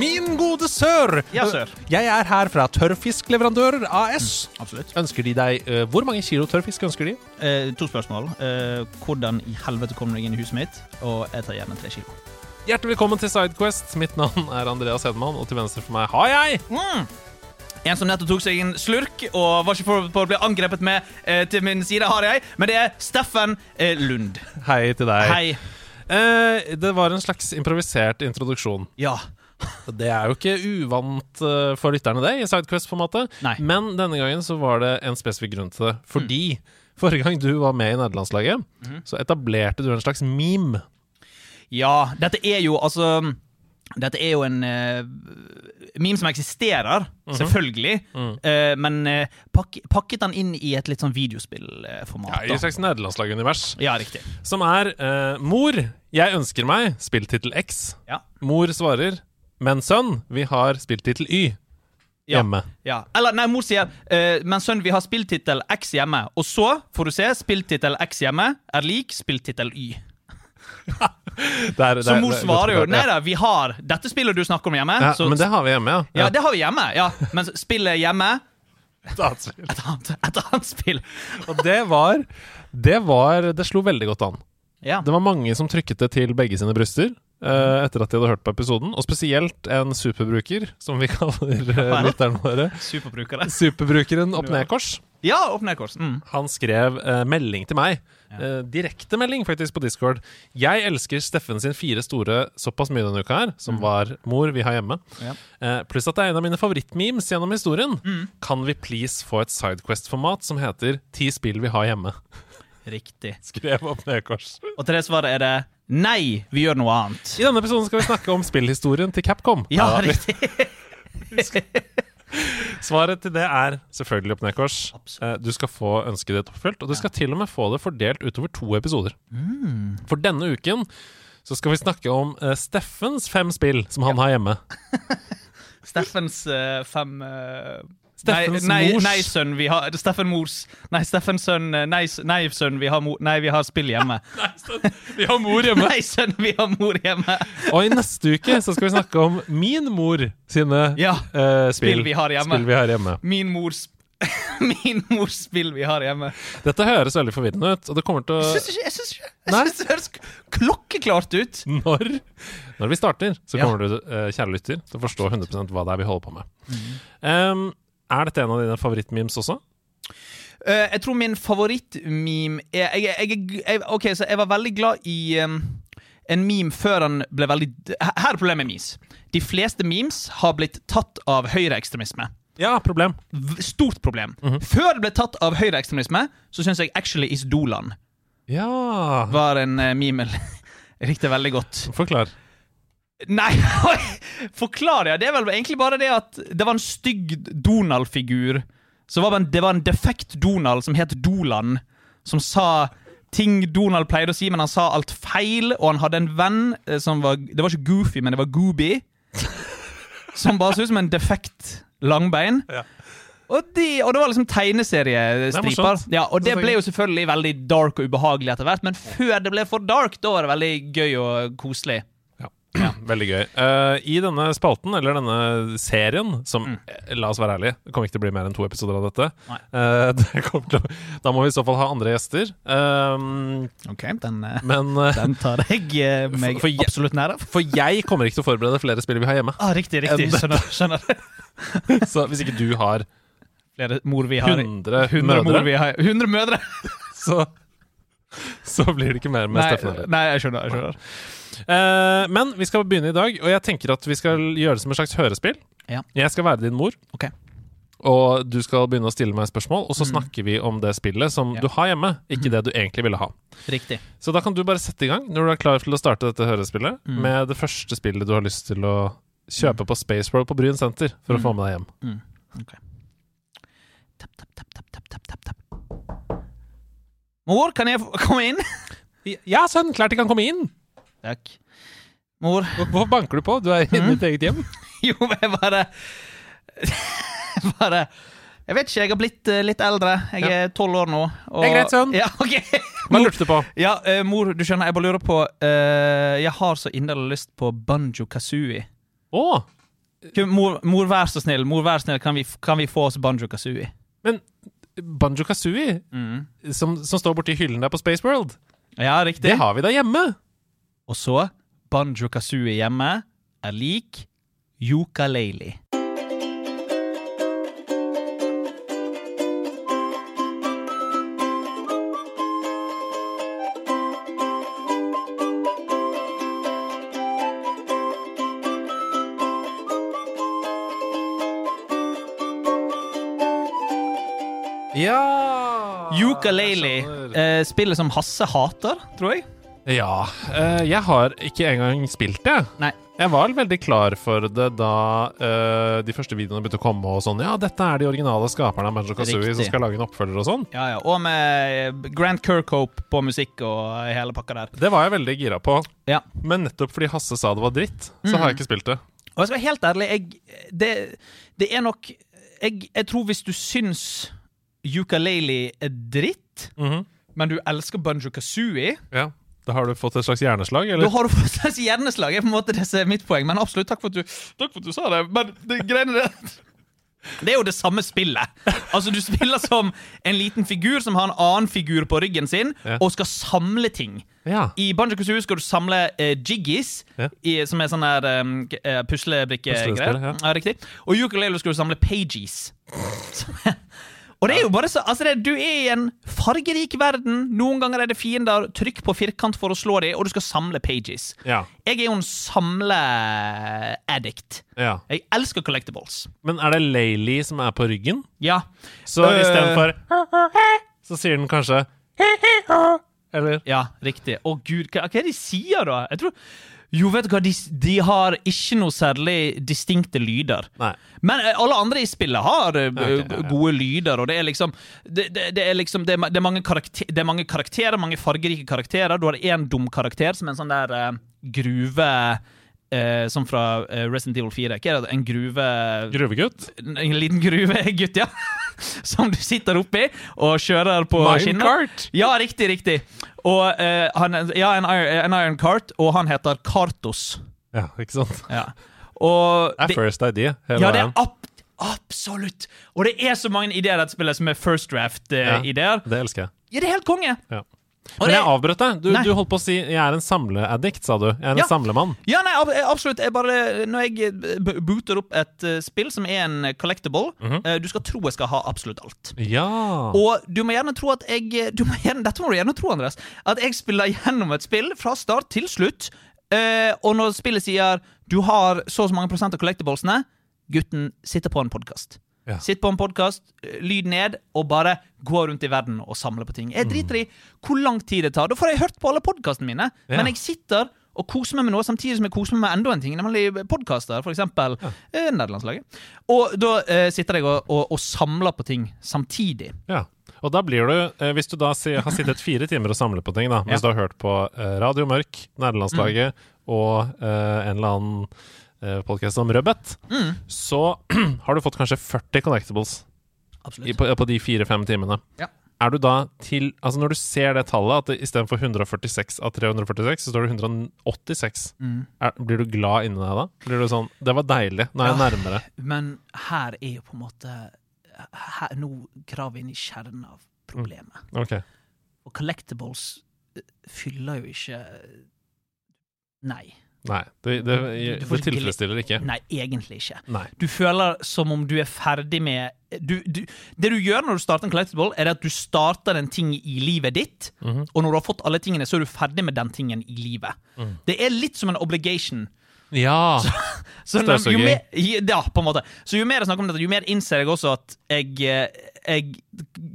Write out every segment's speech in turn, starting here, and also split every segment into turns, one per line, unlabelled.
Min gode sør!
Ja, sør.
Jeg er her fra Tørrfiskleverandører AS.
Absolutt.
Ønsker de deg eh, Hvor mange kilo tørrfisk ønsker de?
Eh, to spørsmål. Eh, hvordan i helvete kom du deg inn i huset mitt? Og jeg tar gjerne tre kilo.
Hjertelig velkommen til Sidequest. Mitt navn er Andreas Hedman, og til venstre for meg har jeg
En som nettopp tok seg en slurk og var ikke forberedt på å bli angrepet med. Eh, til min side har jeg, men det er Steffen eh, Lund.
Hei til deg.
Hei.
Eh, det var en slags improvisert introduksjon.
Ja.
Det er jo ikke uvant eh, for lytterne, det, i Sidequest-formatet.
Nei. Mm.
Men denne gangen så var det en spesifikk grunn til det. Fordi forrige gang du var med i nederlandslaget, så etablerte du en slags meme.
Ja, dette er jo altså Dette er jo en eh, meme som eksisterer,
Mhm.
selvfølgelig. eh, men eh, pakk, pakket den inn i et litt sånn videospillformat.
Ja, I et
da.
slags nederlandslagunivers.
ja, riktig.
Som er eh, Mor, jeg ønsker meg spilltittel X.
Ja.
Mor svarer Men sønn, vi har spilltittel Y
Ja.
hjemme.
Ja. Eller nei, mor sier eh, Men sønn, vi har spilltittel X hjemme. Og så får du se. Spilltittel X hjemme er lik spilltittel Y.
Det er- det
Så
er-
mor
det er-
svarer jo
det er-
Nei da, vi har dette spillet du snakker om hjemme.
Ja,
så,
men det har vi hjemme, ja.
ja, det har vi hjemme. Ja. Men spillet hjemme
det,
Et annet, et annet spill.
og det var Det var Det slo veldig godt an.
Ja.
Det var mange som trykket det til begge sine bryster. eh, etter at de hadde hørt på episoden, og spesielt en superbruker, som vi kaller eh, lytterne våre.
Superbrukere.
Superbrukeren opp ned-kors.
Ja, opp ned kors. Mm.
Han skrev eh, melding til meg. Eh, direkte melding, faktisk, på Discord. Jeg elsker Steffen sin fire store såpass mye denne uka her, som var 'Mor, vi har hjemme'.
Mm. Ja. Mm.
Eh, pluss at det er en av mine favorittmemes gjennom historien. Kan vi please få et Sidequest-format som heter 'Ti spill vi har hjemme'?
Riktig.
Skrev opp ned kors.
Og til det svaret er det nei, vi gjør noe annet.
I denne episoden skal vi snakke om spillhistorien til Capcom.
Ja,
Ja,
riktig.
Svaret til det er selvfølgelig opp ned kors.
Absolutt.
Eh, Du skal få ønsket ditt oppfylt, og du skal til og med få det fordelt utover to episoder.
Mm.
For denne uken så skal vi snakke om eh, Steffens fem spill som han har hjemme.
Steffens eh, fem eh,
Steffens
nei, nei,
mors.
Nei, sønn, vi har Steffen mors Nei, Steffens sønn eh, Nei, s- nei sønn, vi har mor Nei, vi har spill hjemme.
Vi har mor hjemme.
nei, sønn, vi har mor hjemme.
Og i neste uke så skal vi snakke om min mor sine
Ja.
eh, spill,
Spill vi har hjemme.
spill vi har hjemme.
Min mors Min mors spill vi har hjemme.
Dette høres veldig forvirrende ut, og det kommer til å
Jeg syns ikke, jeg syns ikke jeg
Nei.
syns det høres klokkeklart ut.
når, når vi starter, så
Ja.
kommer du, eh, kjære lytter, til å forstå 100 hva det er vi holder på med.
Mm.
Em, er dette en av dine favorittmemes også?
Eh, jeg tror min favorittmeme er jeg, jeg, jeg, jeg, Ok, så jeg var veldig glad i em, en meme før den ble veldig Her her er problemet med memes. De fleste memes har blitt tatt av høyreekstremisme.
Ja, problem.
V- Stort problem. Før det ble tatt av høyreekstremisme, så syns jeg Actually Is Dolan
Ja
var en eh, meme jeg likte veldig godt.
Forklar.
Nei, oi, forklar det. Det er vel egentlig bare det at det var en stygg Donald-figur. Så var det, en, det var en defekt Donald som het Dolan, som sa ting Donald pleide å si, men han sa alt feil, og han hadde en venn eh, som var Det var ikke Goofy, men det var Gooby. Som bare så ut som en defekt langbein.
Ja.
Og, de, og det var liksom
Det er morsomt.
tegneseriestriper. Ja, og det ble jo selvfølgelig veldig dark og ubehagelig etter hvert, men før det ble for dark, da var det veldig gøy og koselig.
Veldig gøy. Eh, I denne spalten, eller denne serien, som eh, La oss være ærlige, det kommer ikke til å bli mer enn to episoder av dette.
Nei.
Eh, det kommer til å, da må vi i så fall ha andre gjester. Ehm,
Ok, den, eh,
men eh,
den tar jeg eh,
For-
meg
for jeg-
absolutt nær av.
For jeg kommer ikke til å forberede flere spill vi har hjemme.
Ah, riktig, riktig.
Enn dette.
Skjønner. skjønner.
Så hvis ikke du har
Flere mor vi har.
100
100 mor
mødre,
vi har. 100 mødre!
så, så blir det ikke mer med
Nei,
Steffen. Øyre.
nei, jeg skjønner. jeg skjønner
Eh, men vi skal begynne i dag, og jeg tenker at vi skal gjøre det som et slags hørespill.
Ja.
Jeg skal være din mor.
Ok.
Og du skal begynne å stille meg spørsmål, og så snakker vi om det spillet som
Ja.
du har hjemme, ikke det du egentlig ville ha.
Riktig.
Så da kan du bare sette i gang når du er klar til å starte dette hørespillet,
Mm.
med det første spillet du har lyst til å kjøpe på Space World på Bryn senter for å få med deg hjem.
Tap, tap, tap, tap, tap, tap, tap, tap. Mor, kan jeg få komme inn?
Ja, sønn, klart de kan komme inn!
Takk. Mor
Hvorfor banker du på? Du er inne i ditt eget hjem.
Jo, men jeg bare Bare Jeg vet ikke, jeg har blitt eh, litt eldre. Jeg er tolv år nå. og-
Det er greit, sønn.
Ja, ok
Hva lurte du på?
Ja, eh, mor, du skjønner, jeg bare lurer på eh, Jeg har så inderlig lyst på banjo kazooie.
Å!
Kun- Mor, mor, vær så snill, mor, vær så snill, kan vi, kan vi få oss banjo kazooie?
Men Banjo Kazooie, som, som står borti hyllen der på Space World,
Ja, riktig.
det har vi da hjemme!
Og så banjo kazooie hjemme er lik yukalele.
Ja!
Yukalele. Eh, spillet som Hasse hater, tror jeg.
Ja. eh, jeg har ikke engang spilt det.
Nei.
Jeg var veldig klar for det da eh, de første videoene begynte å komme. og sånn, Ja, dette er de originale skaperne av Banjo Kazooie
Riktig.
som skal lage en oppfølger og sånn.
Ja, ja, Og med Grant Kirkhope på musikk og hele pakka der.
Det var jeg veldig gira på.
Ja. Mm.
Men nettopp fordi Hasse sa det var dritt, så har jeg ikke spilt det.
Og jeg skal være helt ærlig, jeg, det, det er nok jeg, jeg tror hvis du syns ukulele er dritt,
Mhm.
men du elsker banjo kazooie,
Ja. Da har du fått et slags hjerneslag,
da
eller?
har du fått et hjerneslag. er på en måte det som er mitt poeng. Men absolutt, takk for at du, takk for at du sa det. Men det greiene der Det er jo det samme spillet. Altså, Du spiller som en liten figur som har en annen figur på ryggen sin,
Ja.
og skal samle ting.
Ja.
I Banjo Kazooie skal du samle eh, jiggies,
Ja.
i, som er sånne her, um, g- eh, puslebrikkegreier.
Puslespill, ja.
ja. riktig. Og i ukulele skal du samle pages. Som er- Og det er jo bare så altså det, Du er i en fargerik verden. Noen ganger er det fiender. Trykk på firkant for å slå dem, og du skal samle pages.
ja.
Jeg er jo en samle-addict.
ja.
Jeg elsker collectibles.
Men er det Layli som er på ryggen?
Ja.
Så
Øh.
istedenfor Så sier den kanskje Eller?
Ja, riktig. Å gud, hva, hva er det de sier da? Jeg tror, jo, vet du hva, de, de har ikke noe særlig distinkte lyder.
Nei.
Men eh, alle andre i spillet har eh,
ok, ja, ja.
gode lyder, og det er liksom Det, det, det er liksom det er, ma- det, er mange karakter, det er mange karakterer, mange fargerike karakterer. Du har én dum karakter, som er en sånn der eh, gruve eh, Som fra eh, Resident Evil 4. Hva er det? En gruve
Gruvegutt?
en liten gruvegutt, ja. Som du sitter oppi og kjører på skinner.
Minecart?
Ja, riktig, riktig. Og eh, han, ja, en, iron, en iron cart, og han heter Kartos.
Ja, ikke sant?
Ja. Og
Det er first idea hele
ja, det
veien.
er ab absolutt! Og det er så mange ideer i dette spillet som er first
Ja.
draft-ideer.
Det elsker jeg.
ja, det er helt konge!
Ja.
Og
Men
det,
jeg avbrøt deg. Du,
Nei.
du holdt på å si 'jeg er en samleaddikt', sa du. Jeg er en
Ja.
samlemann.
ja, nei, ab eh, absolutt. Jeg bare, når jeg eh, b- booter opp et eh, spill som er en collectible, eh, du skal tro jeg skal ha absolutt alt.
Ja.
Og du må gjerne tro at jeg eh, du må gjerne, Dette må du gjerne tro, Andreas. At jeg spiller gjennom et spill fra start til slutt. eh, og når spillet sier du har så og så mange prosent av collectiblesene Gutten sitter på en podkast.
Ja.
Sitt på en podkast, lyd ned, og bare gå rundt i verden og samle på ting. Jeg
Mm.
driter i hvor lang tid det tar. Da får jeg hørt på alle podkastene mine.
Ja.
Men jeg sitter og koser meg med noe samtidig som jeg koser meg med enda en ting, nemlig podkaster. For eksempel eh, Nederlandslaget. Og da eh, sitter jeg og, og, og samler på ting samtidig.
ja. Og da blir du, eh, hvis du da si, har sittet fire timer og samlet på ting, da, mens du har hørt på eh, Radio Mørk,
Mm.
Nederlandslaget og eh, en eller annen eh, podcast om Rødbet,
Mm.
så har du fått kanskje 40 connectables i,
Absolutt.
på, på de fire-fem timene.
Ja.
Er du da til Altså, når du ser det tallet, at det istedenfor 146 av 346, så står det 186, er, blir du glad inni deg da? Blir du sånn 'Det var deilig, nå er jeg
Ja.
nærmere'.
Men her er jo på en måte her, Nå graver vi inn i kjernen av problemet.
Ok. Mm.
Og collectibles eh, fyller jo ikke eh, Nei.
Nei. Det, det,
Du- du
det
får ikke
tilfredsstiller ikke.
Nei, egentlig ikke.
Nei.
Du føler som om du er ferdig med eh, du, du, Det du gjør når du starter en collectible, er det at du starter en ting i livet ditt,
Mhm.
og når du har fått alle tingene,
Mm.
så er du ferdig med den tingen i livet. Det er litt som en obligation.
Ja.
Så når, jo
Støvsuging.
mer, ja, på en måte. Så jo mer jeg snakker om dette, jo mer innser jeg også at jeg, eh, jeg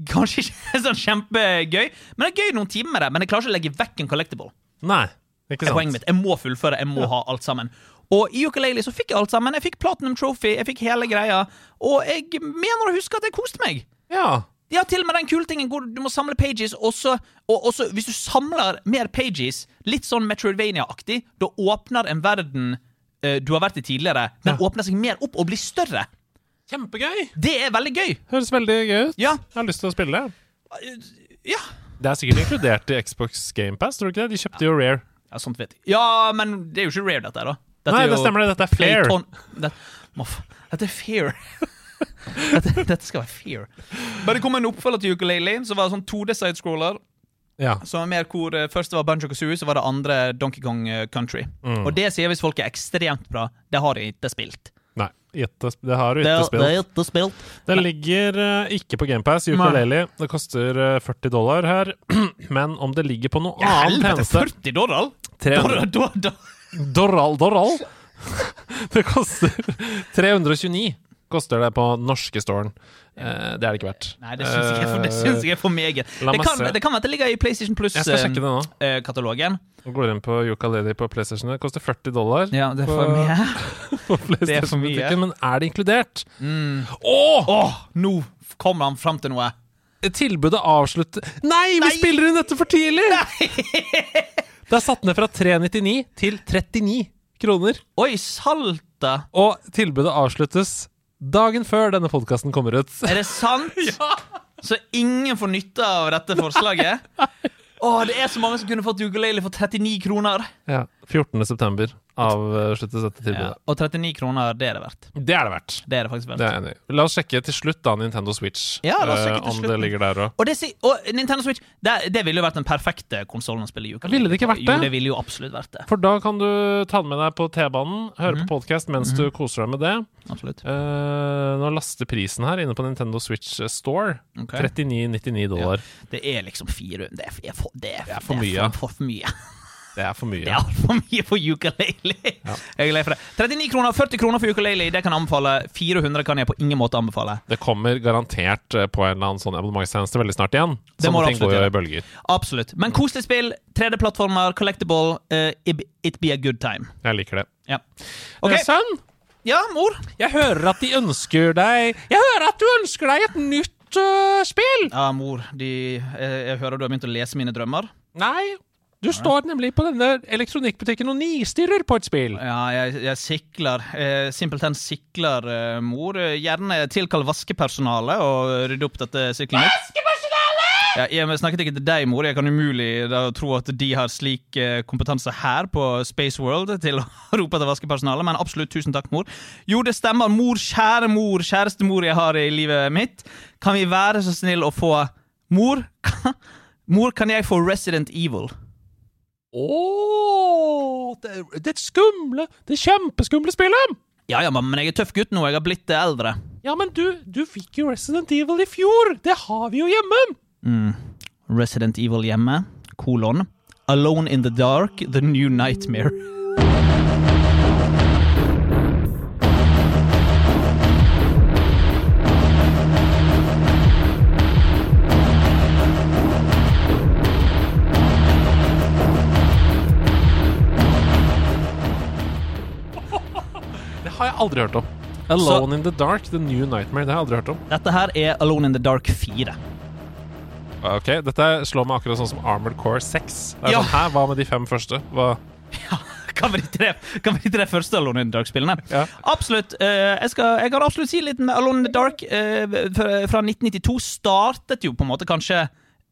Kanskje ikke er sånn kjempegøy, men det er gøy noen timer med det. Men jeg klarer ikke å legge vekk en collectible.
Nei, ikke
Det er poenget
sant.
mitt. Jeg må fullføre, jeg må ha alt sammen. Og i ukulele så fikk jeg alt sammen. Jeg fikk Platinum Trophy, jeg fikk hele greia. Og jeg mener å huske at jeg koste meg.
Ja.
Ja, til og med den kule tingen hvor du må samle pages, og så, og, og så hvis du samler mer pages, litt sånn Metroidvania-aktig, da åpner en verden eh, du har vært i tidligere, den åpner seg mer opp og blir større.
Kjempegøy!
Det er veldig gøy.
Høres veldig gøy ut.
Ja.
Jeg har lyst til å spille det.
Ja,
Det er sikkert inkludert i Xbox GamePass, tror du ikke det? De kjøpte jo Rare.
ja sånt vet jeg. Ja, men det er jo ikke rare, dette her, da. Dette
Nei,
er
det
jo
stemmer det. Dette er Flair.
Playton- Det, Må f- dette er fair. dette, dette skal være fair. Men det kom en oppfølger til Ukulele, som var sånn 2D-sidescroller.
Ja.
Som var mer hvor eh, Først var Banjo Kazooie, så var det andre Donkey Kong eh, Country.
Mm.
Og det sier hvis folk er ekstremt bra. Det har de ikke spilt.
Nei, gjette, det har du ikke spilt.
ikke spilt.
Den ligger eh, ikke på GamePass, ukulele. Det koster eh, 40 dollar her. Men om det ligger på noe
Ja,
annen
helvete,
tjeneste
40 dollar?
300
Dollar, dollar, dollar.
Doral, doral! Det koster 329 koster det på norske storen. Eh, det er det ikke verdt.
Nei, det syns jeg, er for- det syns jeg er for meget.
Eh, la
Det
meg
kan,
se.
det kan være at det ligger i PlayStation eh,
Jeg skal sjekke det nå.
Plus-katalogen.
Jeg Går inn på ukulele på PlayStation. Det koster 40 dollar
Ja, det er for
På- på
mye. Det er for mye.
PlayStation-butikken, men er det inkludert? Mm.
Åh, nå kommer han fram til noe.
Tilbudet avslutter Nei, vi
Nei!
spiller inn dette for tidlig! det er satt ned fra 399 til 39 kroner.
Oi, salte!
Og tilbudet avsluttes dagen før denne podkasten kommer ut.
Er det sant? Så ingen får nytte av dette forslaget? Åh, det er så mange som kunne fått ukulele for 39 kroner.
Ja, 14.9. avsluttes dette tilbudet.
Og 39 kroner, det er det verdt.
Det er det verdt.
Det er det faktisk verdt.
Det er jeg enig. i. La oss sjekke til slutt da Nintendo Switch,
Ja, la oss sjekke
eh,
til
om
slutt.
det ligger der òg.
Og, det, si- og Nintendo Switch det, det ville jo vært den perfekte konsollen å spille ukulele
Ville det ikke
på.
vært
Jo,
det?
det ville jo absolutt vært det.
For da kan du ta den med deg på T-banen, høre på podkast mens du koser deg med det.
Absolutt.
Eh, nå laster prisen her inne på Nintendo Switch Store.
Ok.
39,99 dollar.
Det er liksom fire Det er, det er, for, det er,
er for
det
mye.
er for, for mye.
Det er for mye.
Det er altfor mye for ukulele. Jeg er lei for det. 39 kroner, 40 kroner for ukulele, det kan jeg anbefale. 400 kan jeg på ingen måte anbefale.
Det kommer garantert eh, på en eller annen sånn abonnementstjeneste veldig snart igjen.
Det må
Sånne ting
det
går jo
absolutt gjøre.
i bølger.
Absolutt. Men koselig spill, 3D-plattformer, collectible. eh, it, it be a good time.
Jeg liker det.
Ja. Ok.
Eh, Sønn,
Ja, mor.
Jeg hører at de ønsker deg Jeg hører at du ønsker deg et nytt øh, spill!
Ja, mor. De, eh, jeg hører du har begynt å lese mine drømmer.
Nei, du står nemlig på denne elektronikkbutikken og nistirrer på et spill.
Ja, jeg, jeg sikler. Eh, simpelthen sikler, eh, mor. Eh, Gjerne tilkall vaskepersonalet og rydde opp dette siklinget. Ja, jeg snakket ikke til deg, mor. Jeg kan umulig da, tro at de har slik eh, kompetanse her på Space World til å rope etter vaskepersonalet, men absolutt tusen takk, mor. Jo, det stemmer. Mor, kjære mor, kjæreste mor jeg har i livet mitt. Kan vi være så snill å få Mor, kan, mor, kan jeg få Resident Evil?
Ååå det, det skumle, det kjempeskumle spillet!
Ja ja, mamma, men jeg er tøff gutt nå. Jeg har blitt eh, eldre.
Ja, men du, du fikk jo Resident Evil i fjor! Det har vi jo hjemme!
Resident Evil hjemme, kolon. Alone in the dark, the new nightmare.
Det har jeg aldri hørt om. Alone in the Dark, The New Nightmare. Det har jeg aldri hørt om.
Dette her er Alone in the dark 4.
Ok, Dette slår meg akkurat sånn som Armored Core 6. Det er
Ja.
sånn, Hæ, hva med de fem første? Hva?
Hva var de tre, hva var de tre første Alone in the dark-spillene?
Ja.
Absolutt. eh, jeg, skal, jeg kan absolutt si litt med Alone in the dark. eh, fra fra 1992 startet jo på en måte kanskje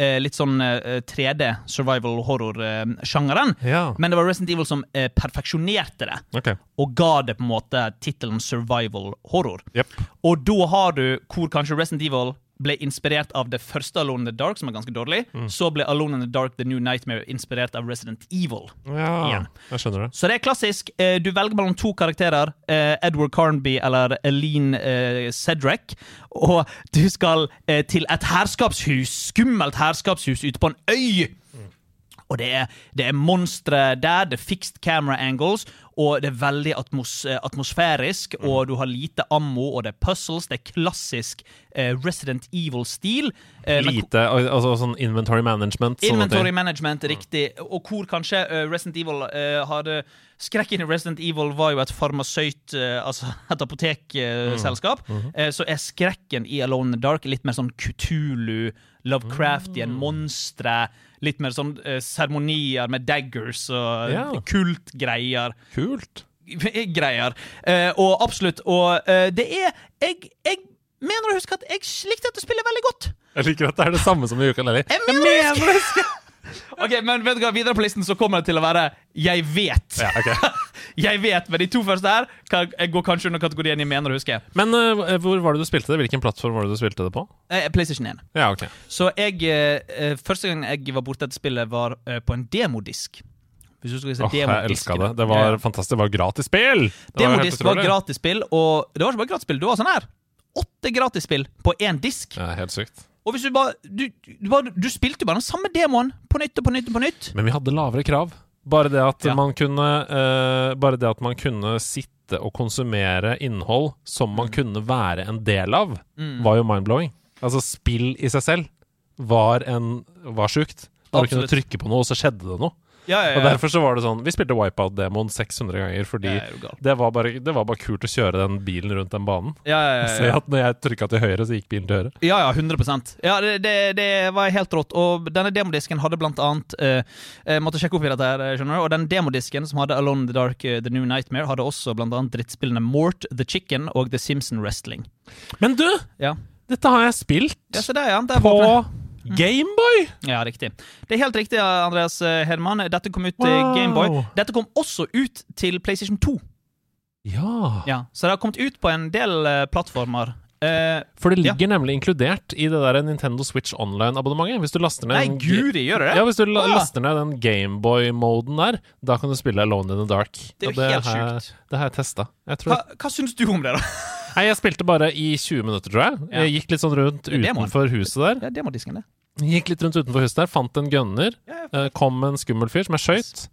eh, litt sånn 3D survival horror-sjangeren.
Ja.
Men det var Resident Evil som eh, perfeksjonerte det.
Ok.
og ga det på en måte tittelen survival horror.
Jepp.
Og da har du hvor kanskje Resident Evil ble inspirert av det første Alone in the Dark, som er ganske dårlig. Så ble Alone in the Dark The New Nightmare inspirert av Resident Evil.
Ja,
Igjen.
jeg skjønner det.
Så det er klassisk. eh, Du velger mellom to karakterer, eh, Edward Carnby eller Eileen eh, Cedric. Og du skal eh, til et herskapshus, skummelt herskapshus ute på en øy. Og det er, det er monstre der, det er fixed camera angles, og det er veldig atmos eh, atmosfærisk,
Mm.
og du har lite ammo, og det er puzzles, det er klassisk eh, Resident Evil-stil. eh, men-
Lite al- Altså sånn inventory management. sånne
Inventory
ting.
management, riktig. Og hvor kanskje eh, Resident Evil eh, hadde Skrekken i Resident Evil var jo et farmasøyt, eh, altså et apotekselskap. Eh, så er skrekken i Alone in the Dark litt mer sånn Kutulu, Lovecraftian, monstre. Litt mer sånn eh, seremonier med daggers og
Ja.
kultgreier
Kult.
greier. Eh, og absolutt. Og eh, det er jeg, jeg mener å huske at jeg likte dette spillet veldig godt.
Jeg liker at det er det samme som i ukulele.
Jeg mener å huske Ok, men vet du hva, Videre på listen så kommer det til å være 'jeg vet'.
Ja, ok.
Jeg vet, Men de to første her kan, jeg går kanskje under kategorien 'jeg mener å huske'.
Men eh, hvor var det du spilte det? Hvilken plattform var det du spilte det på?
Eh, PlayStation 1.
Ja, ok.
Så jeg, eh, eh, første gang jeg var borte etter spillet, var eh, på en demodisk. Hvis du skal si
Åh, jeg
demodisk,
elska
da.
det. Det
Ja,
var
ja.
fantastisk. Det var gratis spill! Det var jo helt
Demodisk var
utrolig.
gratisspill, og det var ikke bare gratisspill, det var sånn her. Åtte gratisspill på én disk.
Ja, helt sykt.
Og hvis du bare du, du, bare, du spilte jo bare den samme demoen på nytt og på nytt og på nytt.
Men vi hadde lavere krav. Bare det at,
Ja.
man, kunne, eh, bare det at man kunne sitte og konsumere innhold som
Mm.
man kunne være en del av, var jo mind-blowing. Altså, spill i seg selv var, en, var sjukt. Bare kunne
Absolutt.
trykke på noe, og så skjedde det noe.
Ja, ja,
Og Derfor så var det sånn Vi spilte Wipeout-demoen 600 ganger fordi
Ja, er du gal.
det, var bare, det var bare kult å kjøre den bilen rundt den banen.
ja, ja, ja,
Se
ja.
at når jeg trykka til høyre, så gikk bilen til høyre.
Ja, ja, 100 Ja, det, det, det var helt rått. Og denne demodisken hadde blant annet eh, Jeg måtte sjekke opp i dette, her, eh, skjønner du. Og den demodisken som hadde Alone in the Dark, eh, The New Nightmare, hadde også blant annet drittspillene Mort, The Chicken og The Simpson Wrestling.
Men du!
Ja,
Dette har jeg spilt
ja se der, ja. Der
på
var
Gameboy!
det. ja, riktig. Det er helt riktig, Andreas eh, Hedman. Dette kom ut til
Wow.
Gameboy. Dette kom også ut til PlayStation 2.
Ja.
Ja, så det har kommet ut på en del eh, plattformer. Eh,
For det ligger nemlig inkludert i det der Nintendo Switch Online-abonnementet. Hvis du laster ned
nei,
den-
guri, gjør det det?
Ja, hvis du la
Ah.
laster ned den Gameboy-moden der, da kan du spille Alone in the Dark.
Det er
Og
jo helt
har-
sjukt.
Det har jeg testa. Jeg, tror-
Hva, hva syns du om det, da?
Nei, jeg spilte bare i 20 minutter, tror jeg.
Ja.
Jeg gikk litt sånn rundt
er demoen.
utenfor huset der.
Ja, demodisken, det.
Gikk litt rundt utenfor huset der, fant en gunner,
Ja,
eh, kom en skummel fyr som jeg skjøt,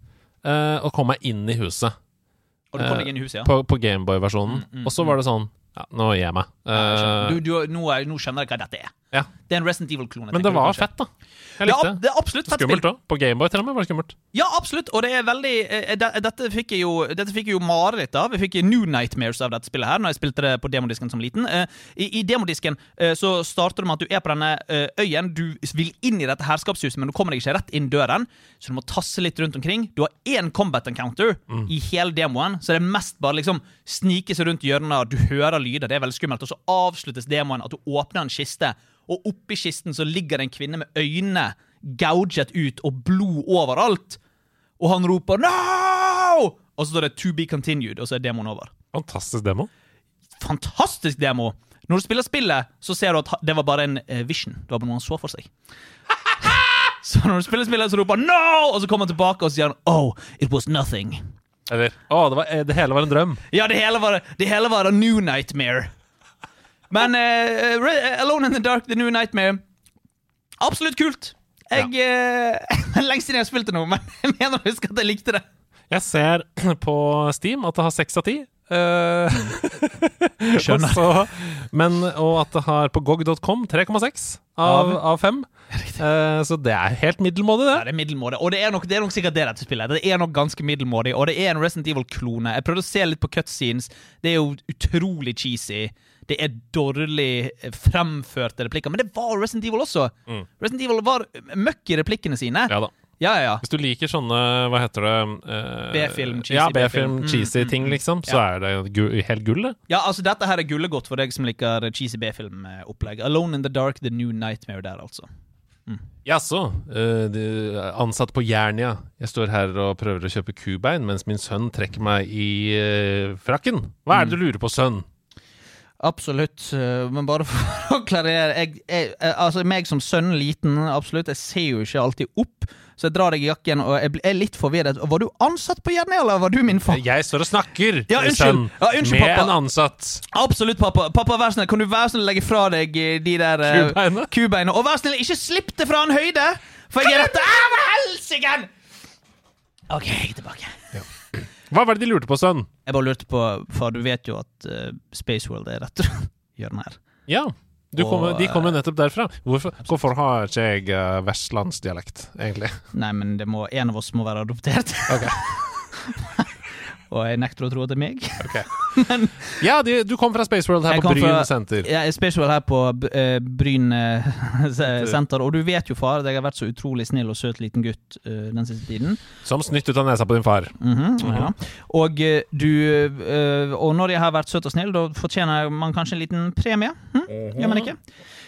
eh, og kom meg inn i huset.
Og du kom
Eh,
deg inn i huset, ja?
På, på Gameboy-versjonen.
Mm, mm,
Og så var det sånn Ja, nå gir jeg meg.
Ja, jeg
Eh,
skjønner. du, du, nå, er- nå skjønner jeg hva dette er.
Ja.
Det er en Resident Evil-klone.
men
tenker
det
du
var
kanskje.
fett, da. Jeg likte det.
det. er ab- Det er absolutt fett
Skummelt
spill.
òg. På Gameboy til og med var det skummelt.
Ja, absolutt, og det er veldig eh, de, Dette fikk jeg jo Dette fikk jeg jo mareritt av. Jeg fikk New Nightmares av dette spillet her Når jeg spilte det på demodisken som liten. Eh, I, i demodisken eh, så starter det med at du er på denne eh, øyen. Du vil inn i dette herskapshuset, men du kommer deg ikke rett inn døren, så du må tasse litt rundt omkring. Du har én combat encounter i hele demoen, så det er mest bare liksom snike seg rundt hjørner, du hører lyder, det er veldig skummelt, og så avsluttes demoen at du åpner en kiste, og oppi kisten så ligger det en kvinne med øyne gouget ut og blod overalt, og han roper no! Og så står det to be continued, og så er demoen over.
Fantastisk demo.
Fantastisk demo! Når du spiller spillet, så ser du at ha- det var bare en eh, vision. Det var bare noe han så for seg. Så når du spiller spillet, så roper han no! Og så kommer han tilbake og så sier han oh, it was nothing.
Eller Å, det, var, eh, det hele var en drøm.
Ja, det hele var, det hele var a new nightmare. Men eh, Re- Alone in the Dark, The New Nightmare Absolutt kult. Jeg, eh, lenge siden jeg har spilt det nå, men jeg mener å huske at jeg likte det.
Jeg ser på Steam at det har seks av ti. Eh,
Skjønner.
og så- men, og at det har på gog.com 3,6 av, av 5. så det er helt middelmådig,
Ja,
det.
det er middelmådig, og det er nok, det er nok sikkert det dette spillet. er. Det er nok ganske middelmådig, og det er en Resident Evil-klone. Jeg prøvde å se litt på cutscenes. Det er jo utrolig cheesy. Det er dårlig eh, fremførte replikker, men det var Resident Evil også. Resident Evil var eh, møkk i replikkene sine.
Ja da.
Ja, ja, ja.
Hvis du liker sånne, hva heter det eh,
B-film, cheesy
Ja,
B-film.
B-film, cheesy ting, liksom, så er det gu helt gull, det.
Ja, altså Dette her er gullet godt for deg som liker cheesy B-filmopplegg. Alone in the Dark, The New Nightmare der, altså.
Jaså, eh, du er ansatt på Jernia. Jeg står her og prøver å kjøpe kubein mens min sønn trekker meg i eh, frakken. Hva er det du lurer på, sønn?
Absolutt, øh, men bare for å klarere jeg, jeg, jeg, Altså, meg som sønn, liten, absolutt, jeg ser jo ikke alltid opp, så jeg drar deg i jakken og jeg bl- er litt forvirret. Var du ansatt på Jernia, eller var du min far?
Eh, Jeg står og snakker, eh,
Ja, unnskyld.
sønn,
Ja, unnskyld,
med
pappa.
en ansatt.
Absolutt, pappa. Pappa, vær snill, Kan du være snill å legge fra deg eh, de der eh,
Kubeina?
kubeina? Og vær snill, ikke slipp det fra en høyde! For jeg er dette Au, helsike! OK, jeg er tilbake.
Hva var det de lurte på, sønn?
Jeg bare lurte på, for du vet jo at eh, Spaceworld er rett rundt hjørnet her.
Ja, du
Og,
kommer- de
eh.
kommer nettopp derfra. Hvorfor, hvorfor har ikke jeg eh, vestlandsdialekt, egentlig?
Nei, men det må, en av oss må være adoptert.
Ok.
Og jeg nekter å tro at det er meg.
Ja, de, du kom fra Spaceworld her
Jeg
på
kom
Bryn
fra-
senter.
Jeg er spesial her på B- eh, Bryn eh, se- senter, og du vet jo, far, at jeg har vært så utrolig snill og søt liten gutt eh, den siste tiden.
Som snytt ut av nesa på din far.
Mhm, ja. Og eh, du eh, Og når jeg har vært søt og snill, da fortjener man kanskje en liten premie? Hm? Gjør man ikke?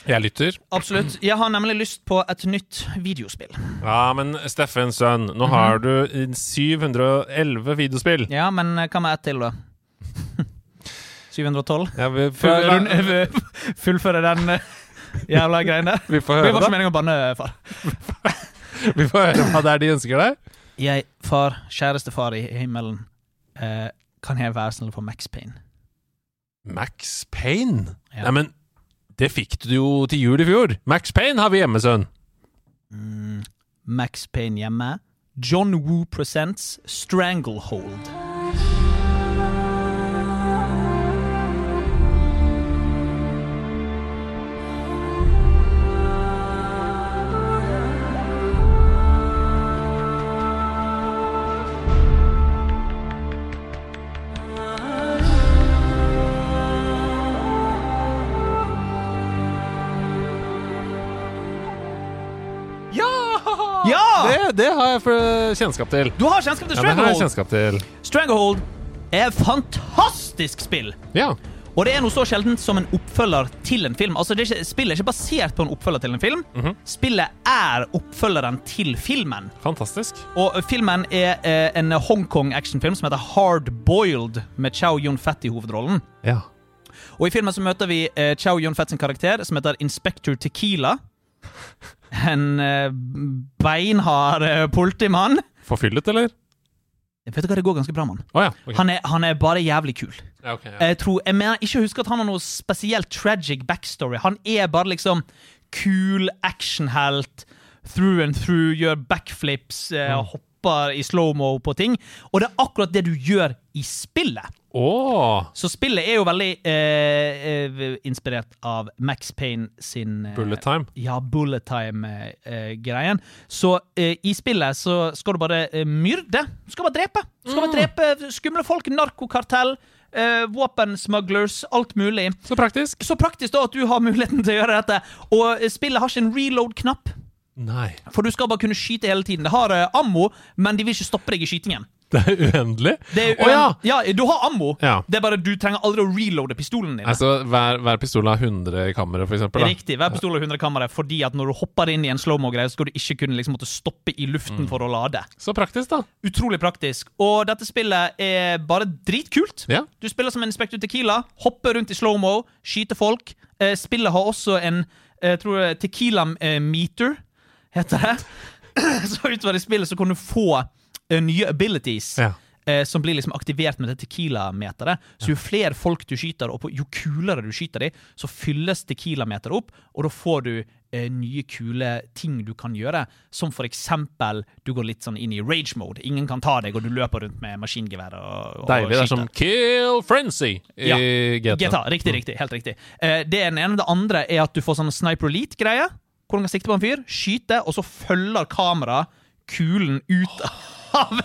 Jeg lytter.
Absolutt. Jeg har nemlig lyst på et nytt videospill.
Ja, men Steffen, sønn, nå har du 711 videospill.
Mhm. Ja, men eh, hva med ett til, da? 712?
Ja, vi,
Før
la-
rund- eh, Fullføre den eh, jævla greien der.
vi får
Det var
høre,
ikke meningen å banne, far.
da. Vi får høre hva det er de ønsker deg.
Jeg, far, kjæreste far i himmelen, eh, kan jeg være snill å få Max Payne?
Max Payne?
Ja.
Nei, men det fikk du jo til jul i fjor. Max Payne har vi hjemme, sønn.
Mm, Max Payne hjemme. John Woo presents Stranglehold.
Ja!
Ja!
Det, det har jeg for- kjennskap til.
Du har kjennskap til
Ja, det har jeg
Stranglehold!
kjennskap til.
Stranglehold er et fantastisk spill!
Ja.
Og det er noe så sjeldent som en oppfølger til en film. Altså, det er ikke, Spillet er ikke basert på en oppfølger til en film.
Mhm.
Spillet er oppfølgeren til filmen.
Fantastisk.
Og filmen er eh, en Hongkong-actionfilm som heter Hard Boiled, med Chow Yun-Fett i hovedrollen.
Ja.
Og i filmen så møter vi eh, Chow Yun-Fett sin karakter, som heter Inspector Tequila. En eh, beinhard eh, politimann.
Forfyllet, eller?
Vet du hva, det går ganske bra, mann.
Å ja. ok.
Han er, han er bare jævlig kul.
Ja, ok, ja.
Jeg tror, jeg mener ikke å huske at han har noe spesielt tragic backstory. Han er bare liksom kul actionhelt. Through and through, gjør backflips, eh, hopper i slow-mo på ting. Og det er akkurat det du gjør i spillet.
Åh,
Så spillet er jo veldig eh, eh, inspirert av Max Payne sin eh,
bullet time.
ja, bullet time-greien. så eh, i spillet så skal du bare eh, myrde. Du skal bare drepe. Du skal
Mm.
bare drepe eh, skumle folk, narkokartell, eh, våpensmuglers, alt mulig.
Så praktisk.
Så praktisk da at du har muligheten til å gjøre dette. Og eh, spillet har ikke en reload-knapp,
Nei.
for du skal bare kunne skyte hele tiden. Det har eh, ammo, men de vil ikke stoppe deg i skytingen.
Det er uendelig.
Det er
Å ja!
ja. du har ammo.
Ja.
Det er bare Du trenger aldri å reloade pistolen din.
Altså, hver, hver pistol har 100 i kammeret, for eksempel. Da.
Riktig. Hver pistol har 100 kamera, fordi at når du hopper inn i en slow-mo-greie, så skal du ikke kunne liksom måtte stoppe i luften
Mm.
for å lade.
Så praktisk, da.
Utrolig praktisk. Og dette spillet er bare dritkult.
Ja.
Du spiller som en Inspector Tequila, hopper rundt i slow-mo, skyter folk. Eh, spillet har også en eh, tror jeg, Tequila eh, meter, heter det. så utover i spillet så kan du få eh, nye abilities.
Ja.
Eh, som blir liksom aktivert med det Tequila-meteret. Så jo flere folk du skyter, og på- jo kulere du skyter de, så fylles Tequila-meteret opp, og da får du eh, nye kule ting du kan gjøre. Som for eksempel, du går litt sånn inn i rage-mode. Ingen kan ta deg, og du løper rundt med maskingevær og, og
Deilig. Det er
skyter.
som Kill Frenzy i
Ja.
GTA.
GTA. Riktig,
Mm.
riktig. Helt riktig. Eh, det er den ene. Det andre er at du får sånn sniper elite-greie. Hvor du kan sikte på en fyr, skyte, og så følger kameraet kulen ut av,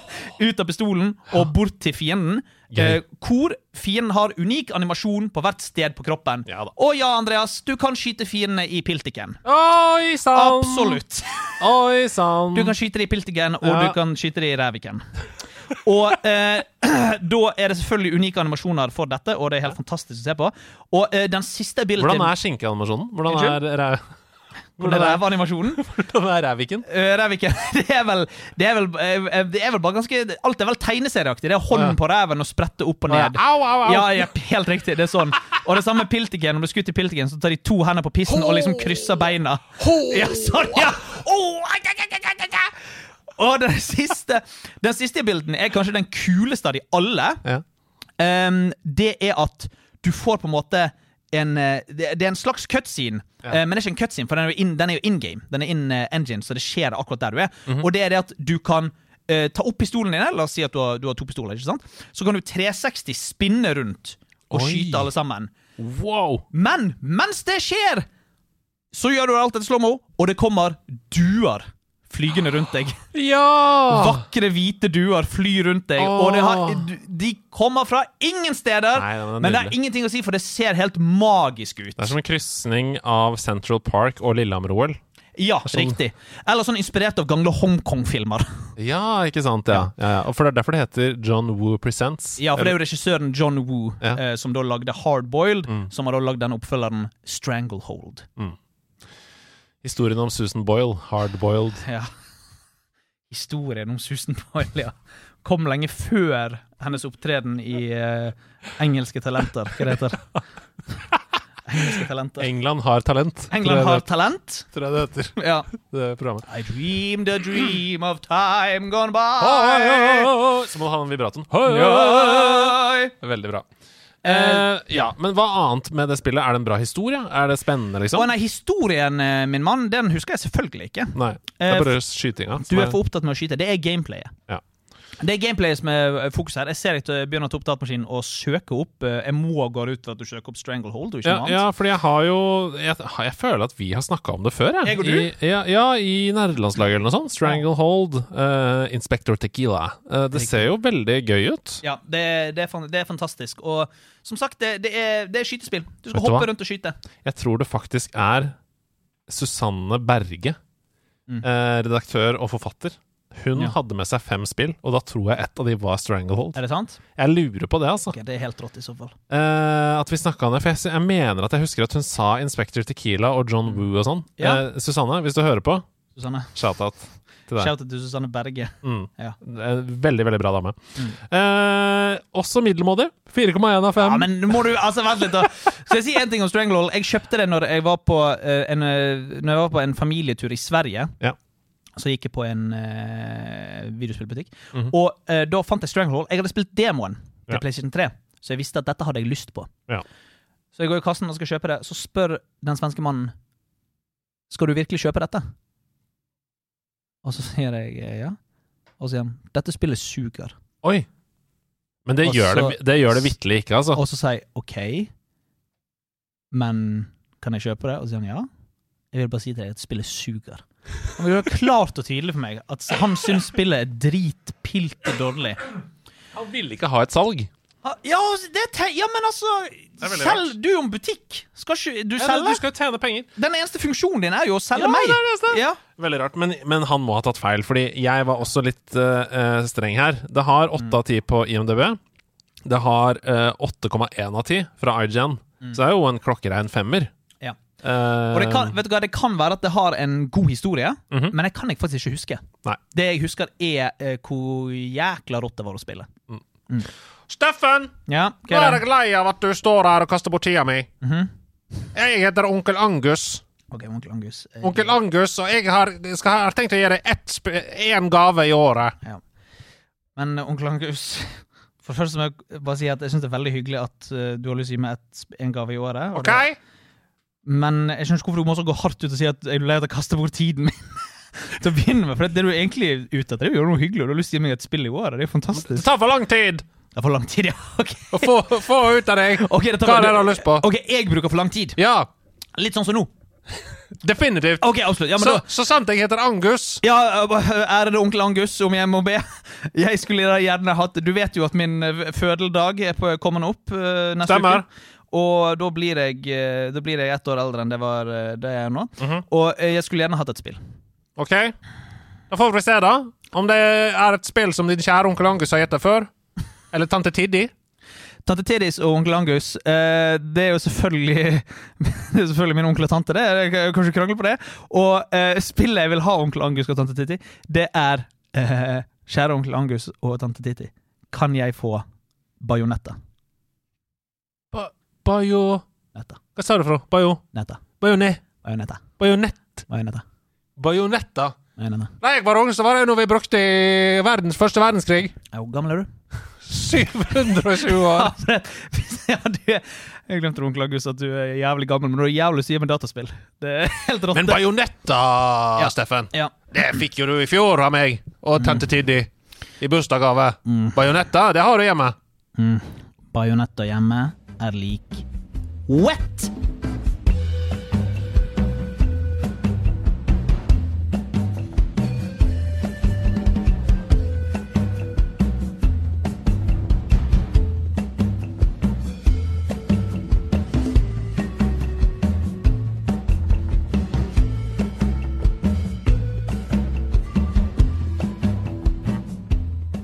ut av pistolen og bort til fienden. Eh,
Gøy.
hvor fienden har unik animasjon på hvert sted på kroppen.
Ja da.
og ja, Andreas, du kan skyte fiendene i piltiken.
Oi sann!
Absolutt.
Oi sann!
Du kan skyte det i piltigen, og
Mm. Ja.
du kan skyte det i ræviken. Og eh, da er det selvfølgelig unike animasjoner for dette, og det er helt fantastisk å se på. Og eh, den siste bildet
Hvordan er skinkeanimasjonen? Hvordan er,
Unnskyld?
ræ-
hvordan
hvordan er,
rævanimasjonen?
hvordan er ræviken?
Eh, Ræviken. Det er vel Det er vel, eh, det er vel bare ganske Alt er vel tegneserieaktig. Det er hånden
Ja.
på ræven og sprette opp og ned.
Au, au, au!
Ja, jepp, helt riktig. Det er sånn. Og det samme med piltiken. Om du skutter i piltiken, så tar de to hender på pissen og liksom krysser beina. Ja, sånn, ja. Åh, ai, ai, ai, ai, ai, ai. Og den siste, den siste bilden er kanskje den kuleste av de alle.
Ja.
Ehm, det er at du får på en måte en, eh, det, det er en slags cutscene, eh, men det er ikke en cutscene, for den er jo in, den er jo in game. Den er in eh, engine, så det skjer akkurat der du er. Og det er det at du kan eh, ta opp pistolen din, eller la oss si at du har, du har to pistoler, ikke sant? så kan du 360 spinne rundt og
Oi.
skyte alle sammen.
Wow!
Men mens det skjer, så gjør du alt etter slow-mo, og det kommer duer flygende rundt deg.
Ja!
Vakre, hvite duer flyr rundt deg, og det har,
Ah. Åh.
de kommer fra ingen steder!
Nei, det var
men det har
nydelig.
ingenting å si, for det ser helt magisk ut.
Det er som en krysning av Central Park og Lillehammer-OL.
Ja,
sånn-
riktig. Eller sånn inspirert av gamle Hongkong-filmer.
Ja, ikke sant? Ja. Ja, ja. Og for Det er derfor det heter John Woo Presents.
Ja, for det er jo regissøren John Woo
Ja. Mm.
eh, som da lagde Hardboiled, som har da lagd den oppfølgeren Stranglehold.
Historien om Susan Boyle, hardboiled.
Ja. Historien om Susan Boyle ja. kom lenge før hennes opptreden i eh, Engelske talenter. Hva det heter Engelske talenter.
England har talent,
England
tror,
har
jeg
talent.
det, tror jeg det heter.
Ja.
Det programmet.
I dreamed a dream of time gone by.
Så må du ha den vibratoren. Veldig bra. Eh, ja, Men hva annet med det spillet? Er det en bra historie? Er det spennende,
Å
liksom?
nei, historien, eh, min mann, den husker jeg selvfølgelig ikke.
Nei. Det
Eh,
er bare skytinga.
Du
som
er for opptatt med å skyte. Det er gameplayet.
Ja.
Det er gameplayet som er eh, fokus her. Jeg ser jeg t- begynner å ta opp datamaskinen og søke opp eh, Jeg må gå ut fra at du søker opp Stranglehold og ikke
Ja,
noe
ja,
annet.
fordi jeg har jo Jeg, har- jeg føler at vi har snakka om det før. Jeg,
Jeg og du?
I, ja, ja, i nerdelandslaget eller noe sånt. Stranglehold, eh, Inspector Tequila. Eh, det ser jo veldig gøy ut.
Ja, det, det, er, fan- det er fantastisk. Og som sagt, det, det, er, det er skytespill. Du skal
Vet du
hoppe
hva?
rundt og skyte.
Jeg tror det faktisk er Susanne Berge,
Mm.
eh, redaktør og forfatter. Hun
Ja.
hadde med seg fem spill, og da tror jeg ett av de var Stranglehold.
Er det sant?
Jeg lurer på det, altså.
Ok, det er helt rått, i så fall.
Eh, at vi snakka om det. For jeg, sy- jeg mener at jeg husker at hun sa Inspector Tequila og John Woo og sånn.
Mm. Ja.
Eh, Susanne, hvis du hører på,
Susanne.
shout-out til deg.
Shout out til Susanne Berge.
Mm.
Ja. Mm.
En Veldig, veldig bra dame. Eh, også middelmådig. 4,1 av 5.
Ja, men nå må du Altså, vent litt, da. Skal jeg si en ting om Stranglehold? Jeg kjøpte det når jeg var på, eh, en, eh, når jeg var på en familietur i Sverige.
Ja.
Så gikk jeg på en eh, videospillbutikk.
Mhm.
Og eh, da fant jeg Stranglehold. Jeg hadde spilt demoen til
Ja.
PlayStation 3, så jeg visste at dette hadde jeg lyst på.
Ja.
Så jeg går i kassen og skal kjøpe det. Så spør den svenske mannen Skal du virkelig kjøpe dette. Og så sier jeg eh, ja. Og så sier han dette spillet suger.
Oi! Men det
Og
gjør
så-
det, det, gjør det vitterlig ikke, altså.
Og så sier jeg OK, men kan jeg kjøpe det? Og så sier han ja. Jeg vil bare si til deg at spillet suger. Han gjør det klart og tydelig for meg at han syns spillet er dritpilte dårlig.
Han ville ikke ha et salg.
Ah, Ja, det te ja men altså
er veldig
Selg du om butikk! Skal ikke du selge?
skal jo tjene penger.
Den eneste funksjonen din er jo å selge
Ja,
meg!
det er det eneste.
Ja.
Veldig rart, men, men han må ha tatt feil, fordi jeg var også litt eh, eh, streng her. Det har 8 av 10 på IMDb. Det har eh, 8,1 av 10 fra IGN. Så det er jo en klokkerein femmer.
Ja.
Eh,
Og det kan, vet du hva, det kan være at det har en god historie,
Mhm.
men jeg kan jeg faktisk ikke huske.
Nei.
Det jeg husker, er eh, hvor jækla rått det var å spille.
Steffen!
Ja, hva
Nå
er
er Mhm.
det?
jeg lei av at du står her og kaster bort tida mi. Jeg heter onkel Angus.
Ok, onkel Angus. eh,
Onkel Angus, og jeg har, skal, har tenkt å gi deg ett sp- én gave i året.
Men eh, onkel Angus For først må jeg bare si at jeg syns det er veldig hyggelig at eh, du har lyst til å gi meg et, en gave i året. og
OK?
det, men jeg skjønner ikke hvorfor du må også gå hardt ut og si at jeg er lei av å kaste bort tiden min. Til å begynne med, for det, det du egentlig er ute etter, er jo noe hyggelig, og du har lyst til å gi meg et spill i året. Det er jo
Det
fantastisk.
tar for lang tid
Det er for lang tid, ja. Ok,
å få, få ut av deg
Ok, dette
hva
var-
det er du har lyst på.
ok, jeg bruker for lang tid.
Ja,
Litt sånn som nå.
definitivt.
Ok, avslutt. Ja, men
Så,
da
så sant jeg heter Angus.
ja, øh, Ærede onkel Angus, om jeg må be. Jeg skulle da gjerne hatt Du vet jo at min øh, fødeldag er på, kommende opp øh, neste
Stemmer.
uke. Og da blir, jeg, øh, da blir jeg ett år eldre enn det, var, øh, det jeg er nå.
Mhm.
Og øh, jeg skulle gjerne hatt et spill.
OK? Da får vi se, da. Om det er et spill som din kjære onkel Angus har gitt deg før. Eller tante Tiddi.
Tante Tidis og onkel Angus, øh, det er jo selvfølgelig Det er selvfølgelig min onkel og tante, det. Jeg kan kanskje krangle på det. Og øh, spillet jeg vil ha onkel Angus og tante Titti, det er øh, Kjære onkel Angus og tante Titti, kan jeg få bajonetta?
Bajo
Netta.
Hva sa du for noe? Bajo?
Netta.
Bajone?
Bajonetta.
Bajonett?
Bajonetta.
Bajonetta?
Bajonetta.
Da jeg var ung, så var det noe vi brukte i verdens første verdenskrig.
Ja, Hvor gammel er du?
720 år.
ja, du er, jeg glemte onkel August at du er jævlig gammel, men du er jævlig syk med dataspill. Det er helt rått.
Men bajonetta,
Ja.
Steffen,
ja.
Mm. det fikk jo du i fjor av meg og tante Tiddi. i bursdagsgave. Bajonetta, det har du hjemme.
Bajonetta hjemme er lik wet!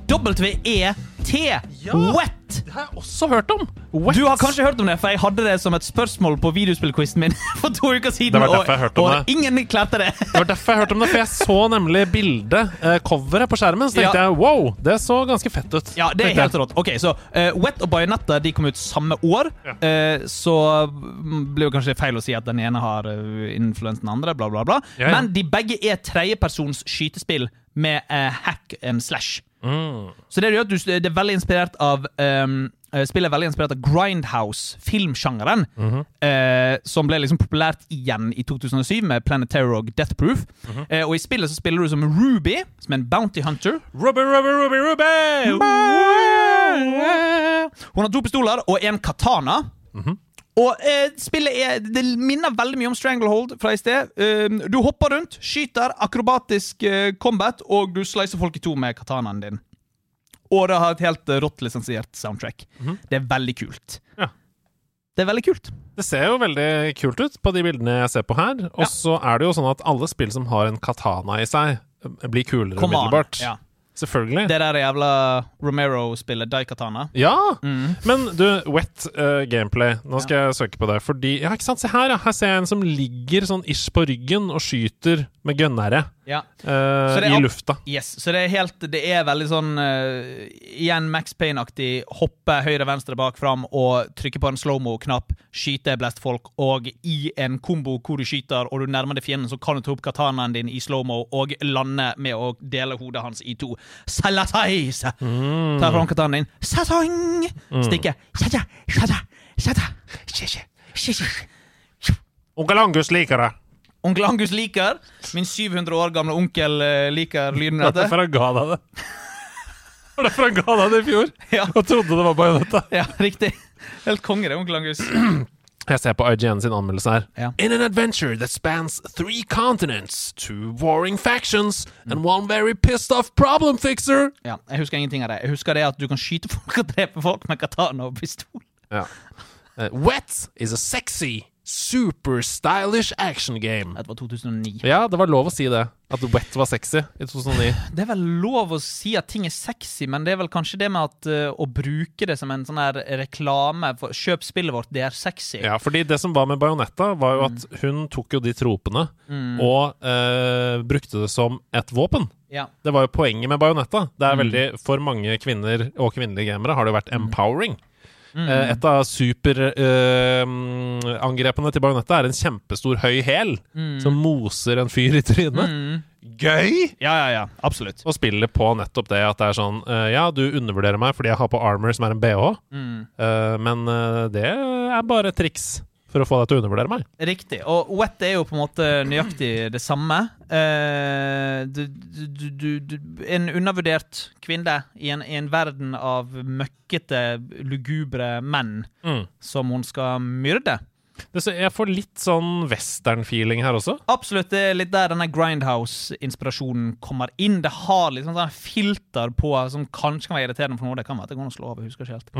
W-E-T. E Wet!
Det har jeg også hørt om.
Du har kanskje hørt om det, for jeg hadde det som et spørsmål på videospillquizen min for to uker siden.
Det var
og-
derfor jeg hørte om
og
det.
ingen klarte det.
Det var derfor jeg hørte om det, for jeg så nemlig bildet, eh, coveret på skjermen, så tenkte
Ja.
jeg wow, det så ganske fett ut.
Ja, det er
tenkte jeg.
helt rått. Ok, så eh, Wet og Bajonetta de kom ut samme år, eh, så mm, blir jo kanskje det feil å si at den ene har eh, influenset den andre, bla, bla, bla.
Ja, ja.
Men de begge er tredjepersons skytespill med eh, hack and slash.
Mm.
Så det gjør at du, det er veldig inspirert av ehm, eh, Spillet er veldig inspirert av Grindhouse, filmsjangeren, eh, som ble liksom populært igjen i 2007 med Planet Terror og Death Proof. Eh, og i spillet så spiller du som Ruby, som er en bounty hunter.
Ruby, ruby, ruby, ruby!
Hun har to pistoler og en katana. Og eh, spillet er, det minner veldig mye om Stranglehold fra i sted. Eh, du hopper rundt, skyter, akrobatisk eh, combat, og du slicer folk i to med katanaen din. Og det har et helt eh, rått lisensiert soundtrack. Det er veldig kult.
Mhm. Ja.
Det er veldig kult.
Det ser jo veldig kult ut på de bildene jeg ser på her. Og
Ja.
så er det jo sånn at alle spill som har en katana i seg, eh, blir kulere
Come on.
umiddelbart.
Ja.
Selvfølgelig.
Det der jævla Romero-spillet, Daikatana.
Ja! Men du, wet eh, gameplay. Nå skal jeg søke på det. Fordi Ja, ikke sant. Se her, ja. Her ser jeg en som ligger sånn ish på ryggen og skyter med gønnere
Ja.
eh,
Så det er
i
opp-
lufta.
Yes, så det er helt Det er veldig sånn eh, Igjen Max Payne-aktig. Hoppe høyre, venstre, bak, fram og trykke på en slowmo-knapp. Skyte blest folk. Og i en kombo hvor du skyter og du nærmer deg fienden, så kan du ta opp katanaen din i slowmo og lande med å dele hodet hans i to. Salatai! sa- Tar fram katanaen din. Satang! Stikke. Sjaja, sjaja, sjaja. Sjaja, sjaja.
Onkel Angus liker det.
Onkel Angus liker. Min 700 år gamle onkel eh, liker lyden
Det
av
var
dette.
derfor han ga deg det. Det var derfor han ga deg det i fjor.
Ja.
Og trodde det var bajonetta.
Ja, riktig. Helt konge, det, onkel Angus.
Jeg ser på IGN sin anmeldelse her.
Ja.
In an adventure that spans three continents, two warring factions, and one very pissed off problem fixer.
Ja, jeg husker ingenting av det. Jeg husker det at du kan skyte folk og drepe folk med katana og pistol.
Ja. Eh, Wet is a sexy, super stylish action game.
Dette var 2009.
Ja, det var lov å si det. At Wet var sexy i 2009.
Det er vel lov å si at ting er sexy, men det er vel kanskje det med at eh, å bruke det som en sånn her reklame for kjøp spillet vårt, det er sexy.
Ja, fordi det som var med Bajonetta, var jo at hun tok jo de tropene og eh, brukte det som et våpen.
Ja.
Det var jo poenget med Bajonetta. Det er veldig, For mange kvinner og kvinnelige gamere har det jo vært empowering. Eh, Et av superangrepene angrepene til Bajonetta er en kjempestor høy hæl
Mm.
som moser en fyr i trynet. Gøy!
ja, ja, ja. Absolutt.
Og spillet på nettopp det at det er sånn eh, Ja, du undervurderer meg fordi jeg har på armor som er en bh,
Mm.
eh, men eh, det er bare et triks for å få deg til å undervurdere meg.
Riktig. Og wet er jo på en måte nøyaktig det samme. Eh, du, du, du, du, en undervurdert kvinne i en, i en verden av møkkete, lugubre menn som hun skal myrde.
Det, så jeg får litt sånn western-feeling her også.
Absolutt, det er litt der denne Grindhouse-inspirasjonen kommer inn. Det har liksom sånn filter på som kanskje kan være irriterende for noe. Det kan være at det går an å slå av, jeg husker ikke helt.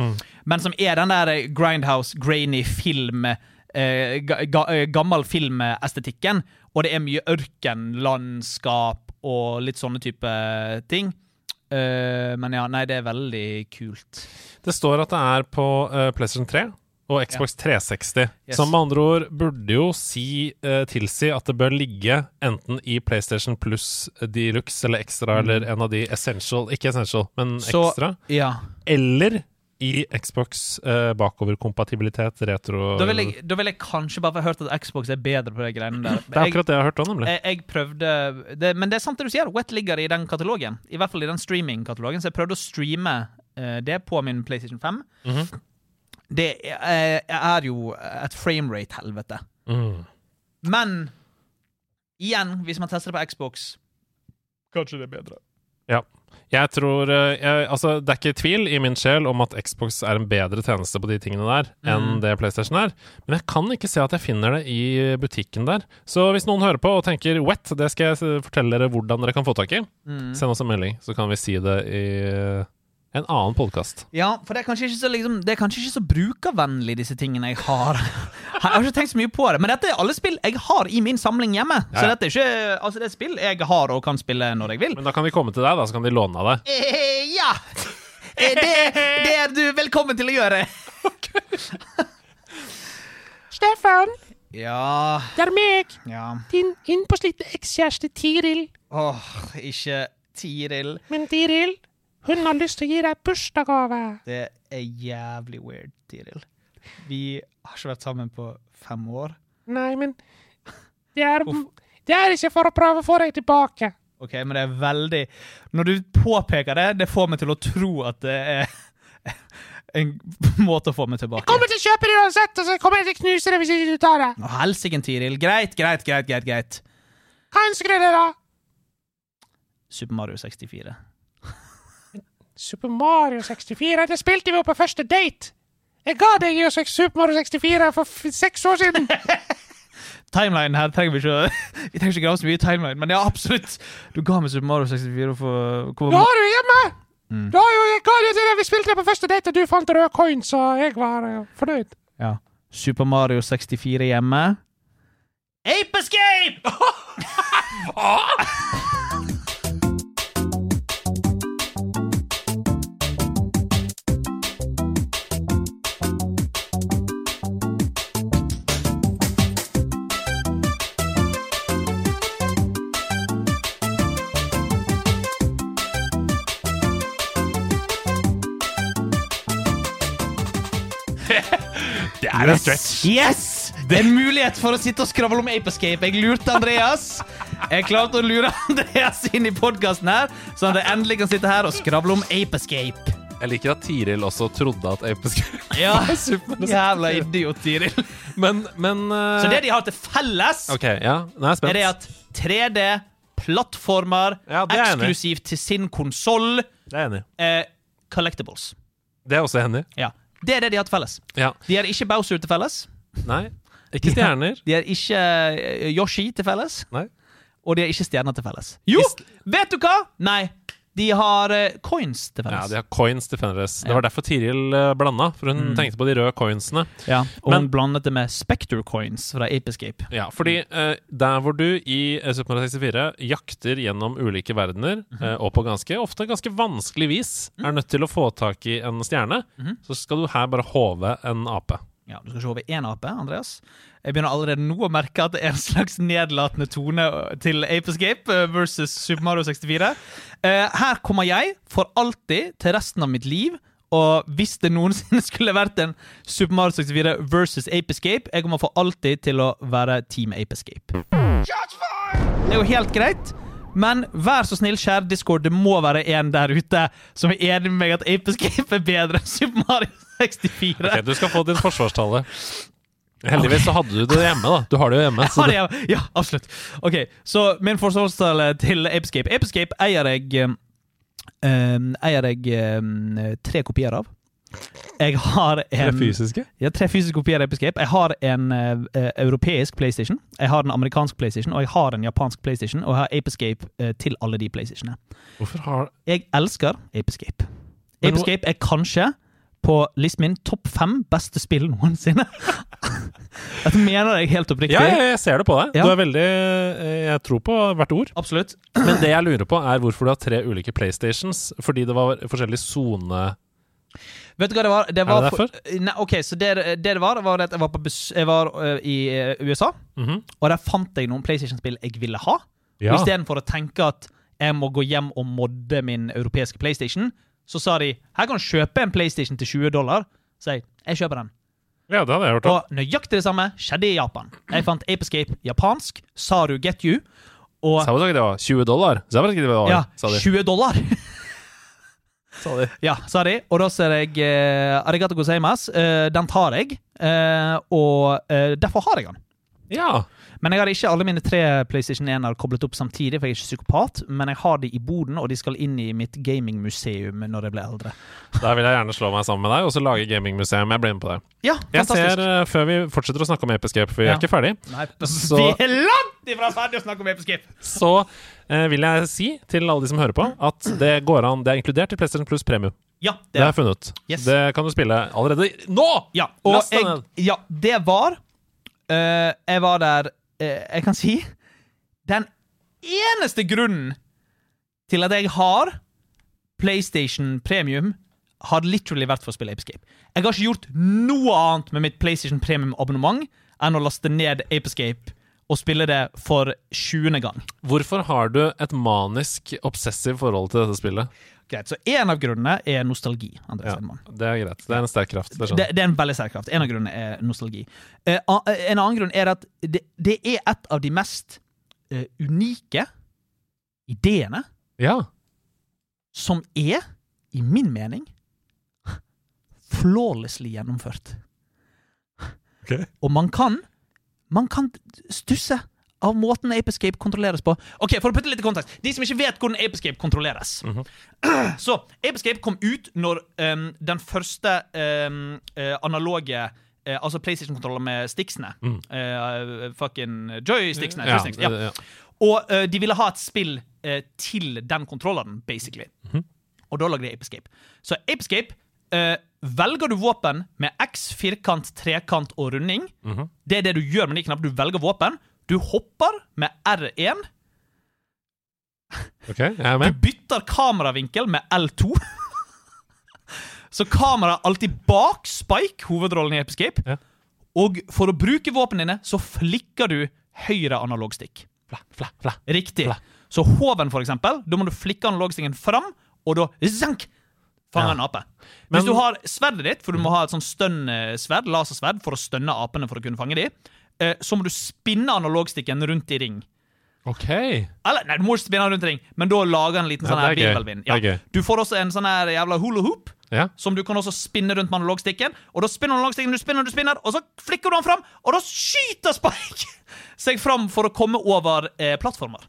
Men som er den der eh, Grindhouse, grainy film, eh, ga, ga, eh, gammel filmestetikken. Og det er mye ørkenlandskap og litt sånne type ting. Eh, men ja, nei, det er veldig kult.
Det står at det er på eh, PlayStation 3 og Xbox 360.
Yes.
Som med andre ord burde jo si, eh, tilsi at det bør ligge enten i PlayStation pluss Deluxe eller Extra eller en av de Essential Ikke Essential, men
Mm. Så-
Extra.
Ja.
Eller i Xbox eh, bakoverkompatibilitet, retro
Da vil, jeg, da vil jeg kanskje bare få hørt at Xbox er bedre på de greiene der.
Det er
Jeg-
akkurat det jeg har hørt òg, nemlig.
jeg, jeg prøvde det, Men det er sant det du sier, Wet ligger i den katalogen. I hvert fall i den streaming-katalogen, så jeg prøvde å streame eh, det på min PlayStation 5.
Mhm.
Det er, eh, er jo et framerate-helvete.
Mm.
Men igjen, hvis man tester det på Xbox Kanskje det er bedre.
Ja. Jeg tror eh, jeg, Altså, det er ikke tvil i min sjel om at Xbox er en bedre tjeneste på de tingene der enn
Mm.
det PlayStation er, men jeg kan ikke se at jeg finner det i butikken der. Så hvis noen hører på og tenker 'wet', det skal jeg s- fortelle dere hvordan dere kan få tak i.
Mm.
Send oss en melding, så kan vi si det i en annen podkast.
Ja, for det er kanskje ikke så, liksom, det er kanskje ikke så brukervennlig, disse tingene jeg har. Jeg har ikke tenkt så mye på det, men dette er alle spill jeg har i min samling hjemme. Så
Ja, ja.
dette er ikke, altså det er spill jeg har og kan spille når jeg vil.
Men da kan de komme til deg, da, så kan de låne av deg.
Eh, ja! Eh, det, det er du velkommen til å gjøre.
Stefan,
Ja,
det er meg,
ja.
din innpåslitte ekskjæreste Tiril.
Åh, ikke Tiril.
Men Tiril, hun har lyst til å gi deg bursdagsgave.
Det er jævlig weird, Tiril. Vi har ikke vært sammen på fem år.
Nei, men det er, det er ikke for å prøve å få deg tilbake.
Ok, men det er veldig Når du påpeker det, det får meg til å tro at det er en måte å få meg tilbake.
Kommer til å kjøpe det uansett, og så kommer jeg til å knuse det hvis ikke du tar det.
Å, helsike, Tiril. Greit, greit, greit, greit. greit.
Hva ønsker du deg, da?
Super Mario 64.
Super Mario 64, det spilte vi jo på første date. Jeg ga deg jo seks- Super Mario 64 for f seks år siden.
Timeline her trenger vi ikke å- Vi trenger ikke grave så mye i timeline, men ja, absolutt. Du ga meg Super Mario 64 for hvor,
Nå har du hjemme! Da har jo jeg ga deg det, vi spilte det på første date, og du fant rød coin, så jeg var eh, fornøyd.
Ja. Super Mario 64 hjemme. Ape Escape!
Det er en stretch.
Yes! Det er en mulighet for å sitte og skravle om Ape Escape. Jeg lurte Andreas. Jeg klarte å lure Andreas inn i podkasten her, så han endelig kan sitte her og skravle om Ape Escape.
Jeg liker at Tiril også trodde at Ape skulle
Ja,
Super Mario
Jævla idiot, Tiril.
Men, men eh,
Så det de har til felles,
OK, ja. Nå er jeg spent.
er det at 3D-plattformer
Ja, det er jeg enig i.
eksklusivt til sin konsoll
Det er jeg enig i.
eh, collectibles.
Det er jeg også enig i.
Ja. Det er det de har til felles.
Ja.
De har ikke Bowser til felles.
Nei. Ikke stjerner.
De har ikke eh, Yoshi til felles.
Nei.
og de har ikke stjerner til felles. Jo! Vet du hva? Nei, de har eh, coins til
Ja,
felles.
de har coins til Fenris. Det var derfor Tiril eh, blanda, for hun tenkte på de røde coinsene.
Ja, og
Men-
hun blandet det med Spectre coins fra Ape Escape.
Ja, fordi eh, der hvor du i eh, Super Mario 64 jakter gjennom ulike verdener, eh, og på ganske ofte ganske vanskelig vis er nødt til å få tak i en stjerne, så skal du her bare håve en ape.
Ja, Du skal se over én ape, Andreas. Jeg begynner allerede nå å merke at det er en slags nedlatende tone eh, til Ape Escape eh, versus Super Mario 64. Eh, her kommer jeg for alltid til resten av mitt liv. Og hvis det noensinne skulle vært en Super Mario 64 versus Ape Escape, jeg kommer for alltid til å være Team Ape Escape. Det er jo helt greit. Men vær så snill, kjære Discord, det må være en der ute som er enig med meg at Ape Escape er bedre enn Super Mario 64.
Ok, du skal få din forsvarstale. Heldigvis så hadde du det hjemme, da. Du har det jo hjemme. Så
Har
det,
jeg, ja, absolutt. Ok, Så min forståelsestale til Ape Escape Ape Escape eier jeg eh, Eier jeg eh, tre kopier av. Jeg har en
fysiske?
Jeg har tre fysiske kopier av Ape Escape. Jeg har en eh, eh, europeisk PlayStation, jeg har en amerikansk PlayStation, og jeg har en japansk PlayStation, og jeg har Ape Escape eh, til alle de PlayStationene.
Hvorfor har
Jeg elsker Ape Escape.
Men
Ape
nå-
Escape er kanskje på listen min topp fem beste spill noensinne. Dette mener jeg helt oppriktig.
Ja, jeg, jeg ser det på deg.
Ja.
Du er veldig eh, Jeg tror på hvert ord.
Absolutt.
Men det jeg lurer på, er hvorfor du har tre ulike PlayStations. Fordi det var forskjellig sone...
Vet du hva det var? Det var
det
for- Nei, ok, så det det, det var, var det at jeg var, på bes jeg var øh, i øh, USA,
Mhm.
og der fant jeg noen PlayStation-spill jeg ville ha.
Ja.
Og Istedenfor å tenke at jeg må gå hjem og modde min europeiske PlayStation, så sa de her kan du kjøpe en PlayStation til 20 dollar. Så jeg jeg kjøper den.
ja, det hadde jeg hørt. om.
Og nøyaktig det samme skjedde i Japan. Jeg fant Ape Escape japansk, Saru Get You, og
Sa de ikke det var 20 dollar? Sa de ikke det var,
ja,
sa de.
20 dollar.
Sa de.
Ja, sa de. Og da ser jeg eh, Arigato gozaimasu. Eh, den tar jeg, eh, og eh, derfor har jeg den.
Ja.
Men jeg har ikke alle mine tre PlayStation 1-er koblet opp samtidig, for jeg er ikke psykopat. Men jeg har de i boden, og de skal inn i mitt gamingmuseum når jeg blir eldre.
Da vil jeg gjerne slå meg sammen med deg og så lage gamingmuseum. Jeg blir med på det.
Ja,
Jeg
fantastisk.
ser, eh, Før vi fortsetter å snakke om Epic Escape, for vi
Ja.
er ikke ferdig,
Nei,
Så-
Vi er langt ifra ferdig å snakke om Epeskip!
så eh, vil jeg si til alle de som hører på, at det går an, det er inkludert i PlayStation Plus Premium.
Ja,
Det
det
har jeg funnet ut.
Yes.
Det kan du spille allerede nå!
Ja,
Og
og
jeg-
jeg, ja det var eh, Jeg var der eh, Jeg kan si Den eneste grunnen til at jeg har PlayStation Premium, har literally vært for å spille Ape Escape. Jeg har ikke gjort noe annet med mitt PlayStation Premium-abonnement enn å laste ned Ape Escape og spille det for 20. gang.
Hvorfor har du et manisk, obsessiv forhold til dette spillet?
Greit, Så én av grunnene er nostalgi. Andreas
Ja,
Hedman.
det er greit. Det er en sterk kraft. Det skjønner
Det,
jeg.
det er en veldig sterk kraft. En av grunnene er nostalgi. Eh, a- en annen grunn er at det, det er et av de mest eh, unike ideene
Ja.
som er, i min mening, flawlessly gjennomført.
Ok.
Og man kan Man kan stusse av måten Ape Escape kontrolleres på. Ok, For å putte litt i kontekst De som ikke vet hvordan Ape Escape kontrolleres
Mhm.
Så Ape Escape kom ut når ehm, den første ehm, eh, analoge eh, altså PlayStation-kontroller med sticksene. Eh, fucking joysticksene.
Mm. Ja,
joysticks, ja.
det- ja.
Og eh, de ville ha et spill eh, til den kontrolleren, basically. Og da lagde de Apescape. Så Apescape eh, Velger du våpen med X, firkant, trekant og runding,
Mhm.
det er det du gjør med de knappene. Du velger våpen. Du hopper med R1.
OK, jeg er
Du
med.
bytter kameravinkel med L2. Så kameraet er alltid bak Spike, hovedrollen i Apescape.
Ja.
Og for å bruke våpnene dine, så flikker du høyre analogstikk.
Fla, fla, fla.
Riktig. Så hoven, for eksempel, da må du flikke analogstingen fram, og da zank, fanger
Ja.
en ape. Hvis
Men-
du har sverdet ditt, for du må ha et sånt stønnsverd, lasersverd, for å stønne apene for å kunne fange de, eh, så må du spinne analogstikken rundt i ring.
OK.
Eller, nei, du må ikke spinne den rundt i ring, men da lager en liten
Ja,
sånn
det
her
er gøy.
virvelvind. Ja.
Det er gøy.
Du får også en sånn her jævla hula hoop,
Ja.
som du kan også spinne rundt med analogstikken. Og da spinner du analogstikken, du spinner, du spinner, og så flikker du den fram, og da skyter Spike seg fram for å komme over eh, plattformer.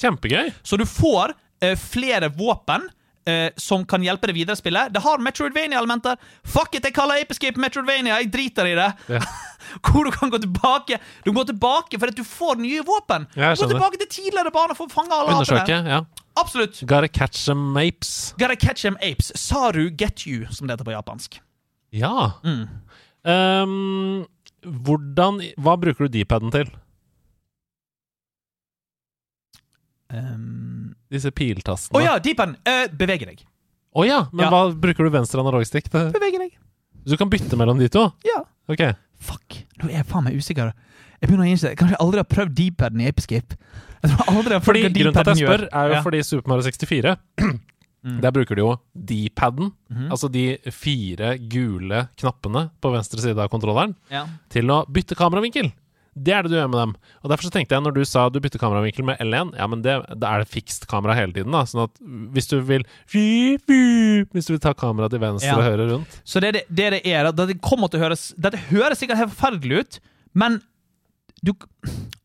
Kjempegøy.
Så du får eh, flere våpen eh, som kan hjelpe deg videre i spillet. Det har Metroidvania-elementer. Fuck it, jeg kaller Apescape Metroidvania. Jeg driter i det.
Ja.
Hvor du kan gå tilbake. Du må tilbake fordi du får nye våpen.
Ja, jeg
du
skjønner.
går tilbake til tidligere baner for å fange alle apene.
Undersøke. Ja.
Absolutt.
Gotta catch some apes.
Gotta catch them apes. Saru get you, som det heter på japansk.
Ja.
Mm.
Um, hvordan Hva bruker du D-paden til?
Um,
Disse piltastene.
Å ja, Deepen. eh, bevege deg.
Å ja, Men
Ja.
hva bruker du venstre analogstikk til?
Bevege deg.
Du kan bytte mellom de to?
Ja.
Ok.
Fuck, nå er jeg faen meg usikker. Jeg begynner å innse jeg Kanskje jeg aldri har prøvd deepaden i Apescape. Jeg tror aldri jeg har prøvd
Fordi
hva
Grunnen til at jeg
deepaden
spør,
gjør.
er jo
Ja. Mm.
fordi Super Mario 64 Der bruker du jo D-paden,
Mhm.
altså de fire gule knappene på venstre side av kontrolleren,
Ja.
til å bytte kameravinkel. Det er det du gjør med dem. Og Derfor så tenkte jeg når du sa du bytter kameravinkel med L1, ja, men det, da er det fikst kamera hele tiden. da Sånn at hvis du vil Hvis du vil ta kameraet til venstre
Ja.
og høyre rundt
Så det det, det, det er at det kommer til å høres Dette høres sikkert helt forferdelig ut, men du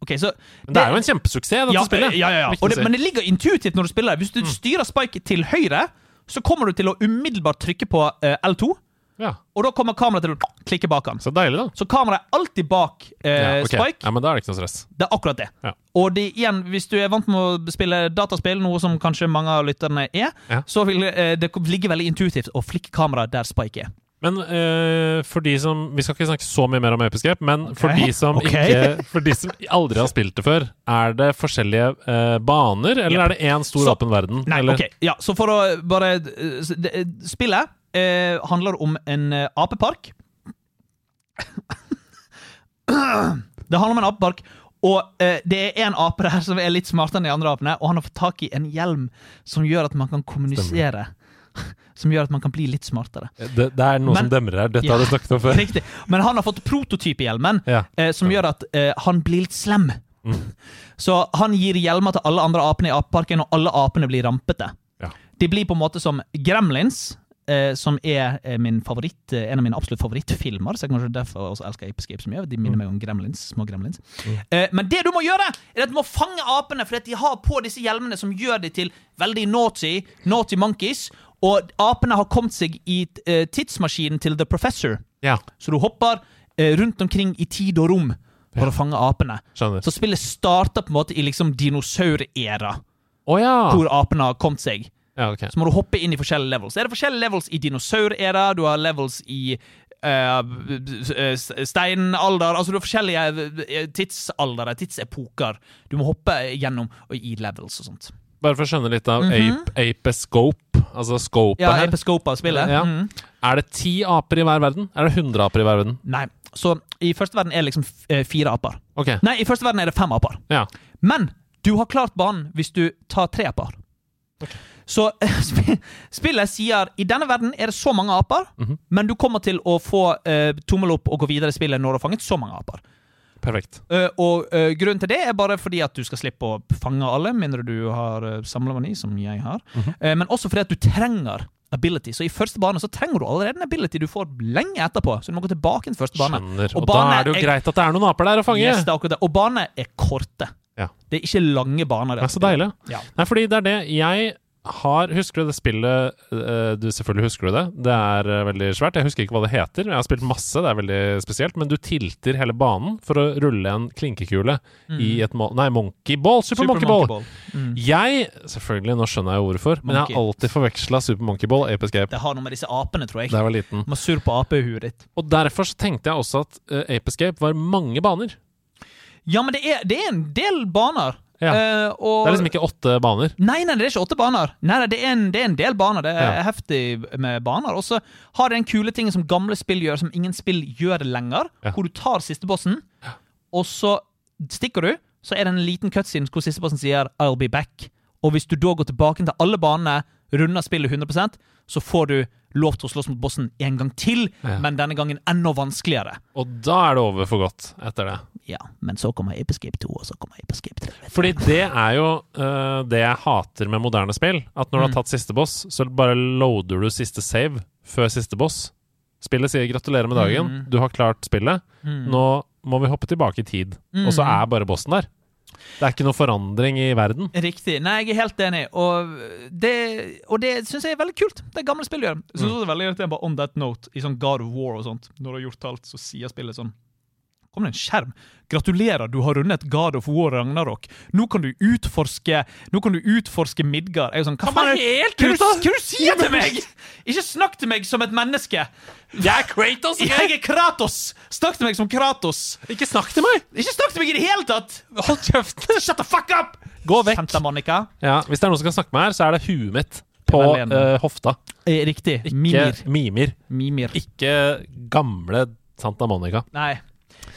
OK, så
Men det er jo en kjempesuksess, dette
ja,
spillet.
Ja, ja, ja.
Viktig å
Og det,
si. Mm.
men det ligger intuitivt når du spiller. Hvis du styrer Spike til høyre, så kommer du til å umiddelbart trykke på eh, L2,
ja.
og da kommer kameraet til å klikke bak han.
Så deilig, da.
Så kameraet er alltid bak eh,
ja, ok.
Spike.
ja, men da er det ikke noe stress.
Det er akkurat det.
Ja.
Og det, igjen, hvis du er vant med å spille dataspill, noe som kanskje mange av lytterne er,
Ja.
så vil eh, det ligge veldig intuitivt å flikke kameraet der Spike er.
Men eh, for de som Vi skal ikke snakke så mye mer om Episcape, men for, de som
Ok.
ikke, for de som aldri har spilt det før, er det forskjellige eh, baner, eller
Yep.
er det én stor
Så-
åpen verden?
Nei,
eller?
ok. Ja, så for å bare eh, s- det- eh, Spillet eh, handler om en eh, apepark. det handler om en apepark, og eh, det er en ape der som er litt smartere enn de andre apene, og han har fått tak i en hjelm som gjør at man kan kommunisere. Som gjør at man kan bli litt smartere.
Det, det er noe som
Men-
demrer her. Dette
Ja.
har du snakket om før.
Riktig. Men han har fått prototypehjelmen,
Ja. Mm.
eh, som gjør at eh, han blir litt slem. Så han gir hjelmer til alle andre apene i apeparken, og alle apene blir rampete.
Ja.
De blir på en måte som gremlins, eh, som er eh, min favoritt, eh, en av mine absolutt favorittfilmer. Så det er kanskje derfor jeg også elsker Ape Escape så mye. De minner meg om gremlins, små gremlins.
Mm.
Eh, men det du må gjøre, er at du må fange apene, for de har på disse hjelmene som gjør de til veldig naughty, naughty monkeys. Og apene har kommet seg i eh, tidsmaskinen til The Professor.
Ja,
Så du hopper eh, rundt omkring i tid og rom for å fange apene.
skjønner.
Så spillet starter på en måte i liksom dinosaur-æra,
Å ja!
hvor apene har kommet seg.
ja ok.
Så må du hoppe inn i forskjellige levels. Er det forskjellige levels i dinosaur-æra, du har levels i eh, s- eh, steinalder Altså du har forskjellige eh, tidsaldere, tidsepoker. Du må hoppe gjennom og i levels og sånt.
Bare for å skjønne litt av ape, apescope, altså scopet
Ja,
her.
Episcopa spillet.
Ja.
Mhm.
Er det ti aper i hver verden? Er det 100 aper i hver verden?
Nei. Så i første verden er det liksom f- eh, fire aper.
Ok,
Nei, i første verden er det fem aper.
ja.
Men du har klart banen hvis du tar tre aper. Så eh, sp- spillet sier i denne verden er det så mange aper,
Mhm.
men du kommer til å få eh, tommel opp og gå videre i spillet når du har fanget så mange aper.
Perfekt.
Eh, og eh, grunnen til det er bare fordi at du skal slippe å fange alle, mindre du har uh, samlemani, som jeg har.
Mhm.
Eh, men også fordi at du trenger ability. Så i første bane så trenger du allerede en ability du får lenge etterpå. Så du må gå tilbake til første bane.
Skjønner.
Og
Og da
bane
er det jo
er-
greit at det er noen aper der å fange.
Yes, det er akkurat det. Og banene er korte.
Ja.
Det er ikke lange baner.
Det er så deilig.
Ja.
Nei, fordi det er det jeg har Husker du det spillet eh, Du selvfølgelig husker du det. Det er eh, veldig svært. Jeg husker ikke hva det heter. Jeg har spilt masse, det er veldig spesielt. Men du tilter hele banen for å rulle en klinkekule i et mål Nei, Monkey Ball! Super, Monkey Ball!
Mm.
Jeg Selvfølgelig, nå skjønner jeg jo hvorfor, men jeg har alltid forveksla Super Monkey Ball og Ape Escape
Det har noe med disse apene, tror jeg.
da jeg var liten.
Man surr på apehuet ditt.
Og derfor så tenkte jeg også at eh, Ape Escape var mange baner.
Ja, men det er, det er en del baner.
Ja.
Eh, og...
Det er liksom ikke åtte baner.
Nei, nei, det er ikke åtte baner. Nei, nei, det, er en, det er en del baner. Det er
Ja.
heftig med baner. Og så har det en kule ting som gamle spill gjør, som ingen spill gjør lenger.
Ja.
Hvor du tar siste bossen, og så stikker du. Så er det en liten cutscene hvor siste bossen sier 'I'll be back'. Og hvis du da går tilbake til alle banene, runder spillet 100 så får du lov til å slåss mot bossen en gang til,
Ja.
men denne gangen enda vanskeligere.
Og da er det over for godt etter det.
Ja, men så kommer Apescape 2, og så kommer Apescape 3. vet du.
Fordi det er jo øh, det jeg hater med moderne spill. At når du har tatt siste boss, så bare loader du siste save før siste boss. Spillet sier 'gratulerer med dagen, du har klart spillet'.
Mm.
Nå må vi hoppe tilbake i tid. Og så er bare bossen der. Det er ikke noe forandring i verden.
Riktig. Nei, jeg er helt enig, og det, og det syns jeg er veldig kult. Det gamle spillet gjør. Jeg synes også det er veldig irriterende bare on that note, i sånn God of War og sånt. Når du har gjort alt, så sier spillet sånn Kom det en skjerm? Gratulerer, du har rundet God of War Ragnarok. Nå kan du utforske Nå kan du utforske Midgard. Jeg er sånn, hva faen er det Hva er det hva er det du sier til meg?! Ikke snakk til meg som et menneske!
Jeg er Kratos!
Jeg er Kratos! Snakk til meg som Kratos!
Ikke snakk til meg!
Ikke snakk til meg i det hele tatt! Hold kjeft! Shut the fuck up!
Gå vekk.
Santa Monica.
Ja, hvis det er noen som kan snakke med her, så er det huet mitt på
Jeg er veldig enig.
øh, hofta.
Eh, Riktig.
Ikke
Mimir.
mimer.
Mimir.
Ikke gamle Santa Monica.
Nei.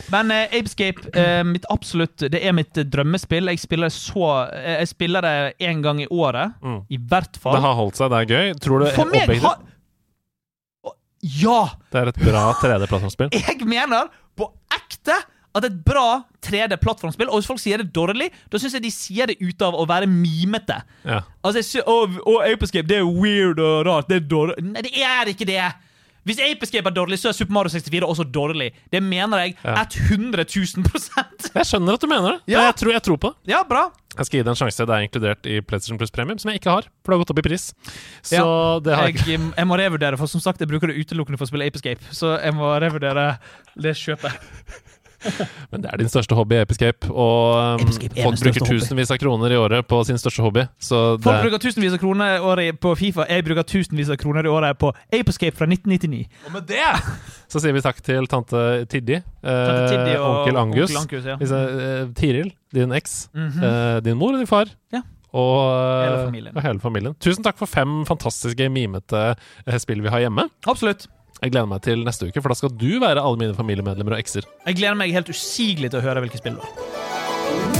Men eh, Apescape, eh, mitt absolutt, det er mitt eh, drømmespill. Jeg spiller, så, eh, jeg spiller det én gang i året.
Mm.
I hvert
Det
fall.
har holdt seg, det er gøy. Tror du
For meg
objektivt-
har Å, Ja!
det er et bra 3D-plattformspill?
Jeg mener på ekte at et bra 3D-plattformspill Og hvis folk sier det dårlig, da syns jeg de sier det ut av å være mimete.
Ja.
Altså, jeg sy og, og Apescape, det er weird og rart. Det er dårlig Nei, det er ikke det! Hvis Apescape er dårlig, så er Super Mario 64 også dårlig. Det mener jeg
Ja.
100 000
Jeg skjønner at du mener det.
Ja.
Jeg, tror, jeg tror på det.
Ja, bra.
Jeg skal gi det en sjanse. Det er inkludert i PlayStation Plus Premium, som jeg ikke har. For det har gått opp i pris. Så
Ja.
det har jeg
Jeg,
ikke.
jeg må revurdere, for som sagt, jeg bruker det utelukkende for å spille Apescape. Så jeg må revurdere det kjøpet.
Men det er din største hobby, Episcape. Og um,
Episcape er min
folk bruker
største hobby.
tusenvis av kroner i året på sin største hobby. Så det
Folk bruker tusenvis av kroner i året på Fifa. Jeg bruker tusenvis av kroner i året på Apescape fra 1999.
Og med det så sier vi takk til tante Tiddi, eh,
Tante Tiddy og
onkel Angus,
onkel Angus, ja.
hvis jeg- eh, Tiril, din eks,
Mhm.
eh, din mor og din far.
Ja.
Og, eh,
Hele familien.
og hele familien. Tusen takk for fem fantastiske mimete eh, spill vi har hjemme.
Absolutt.
Jeg gleder meg til neste uke, for da skal du være alle mine familiemedlemmer og ekser.
Jeg gleder meg helt usigelig til å høre hvilke spill det var.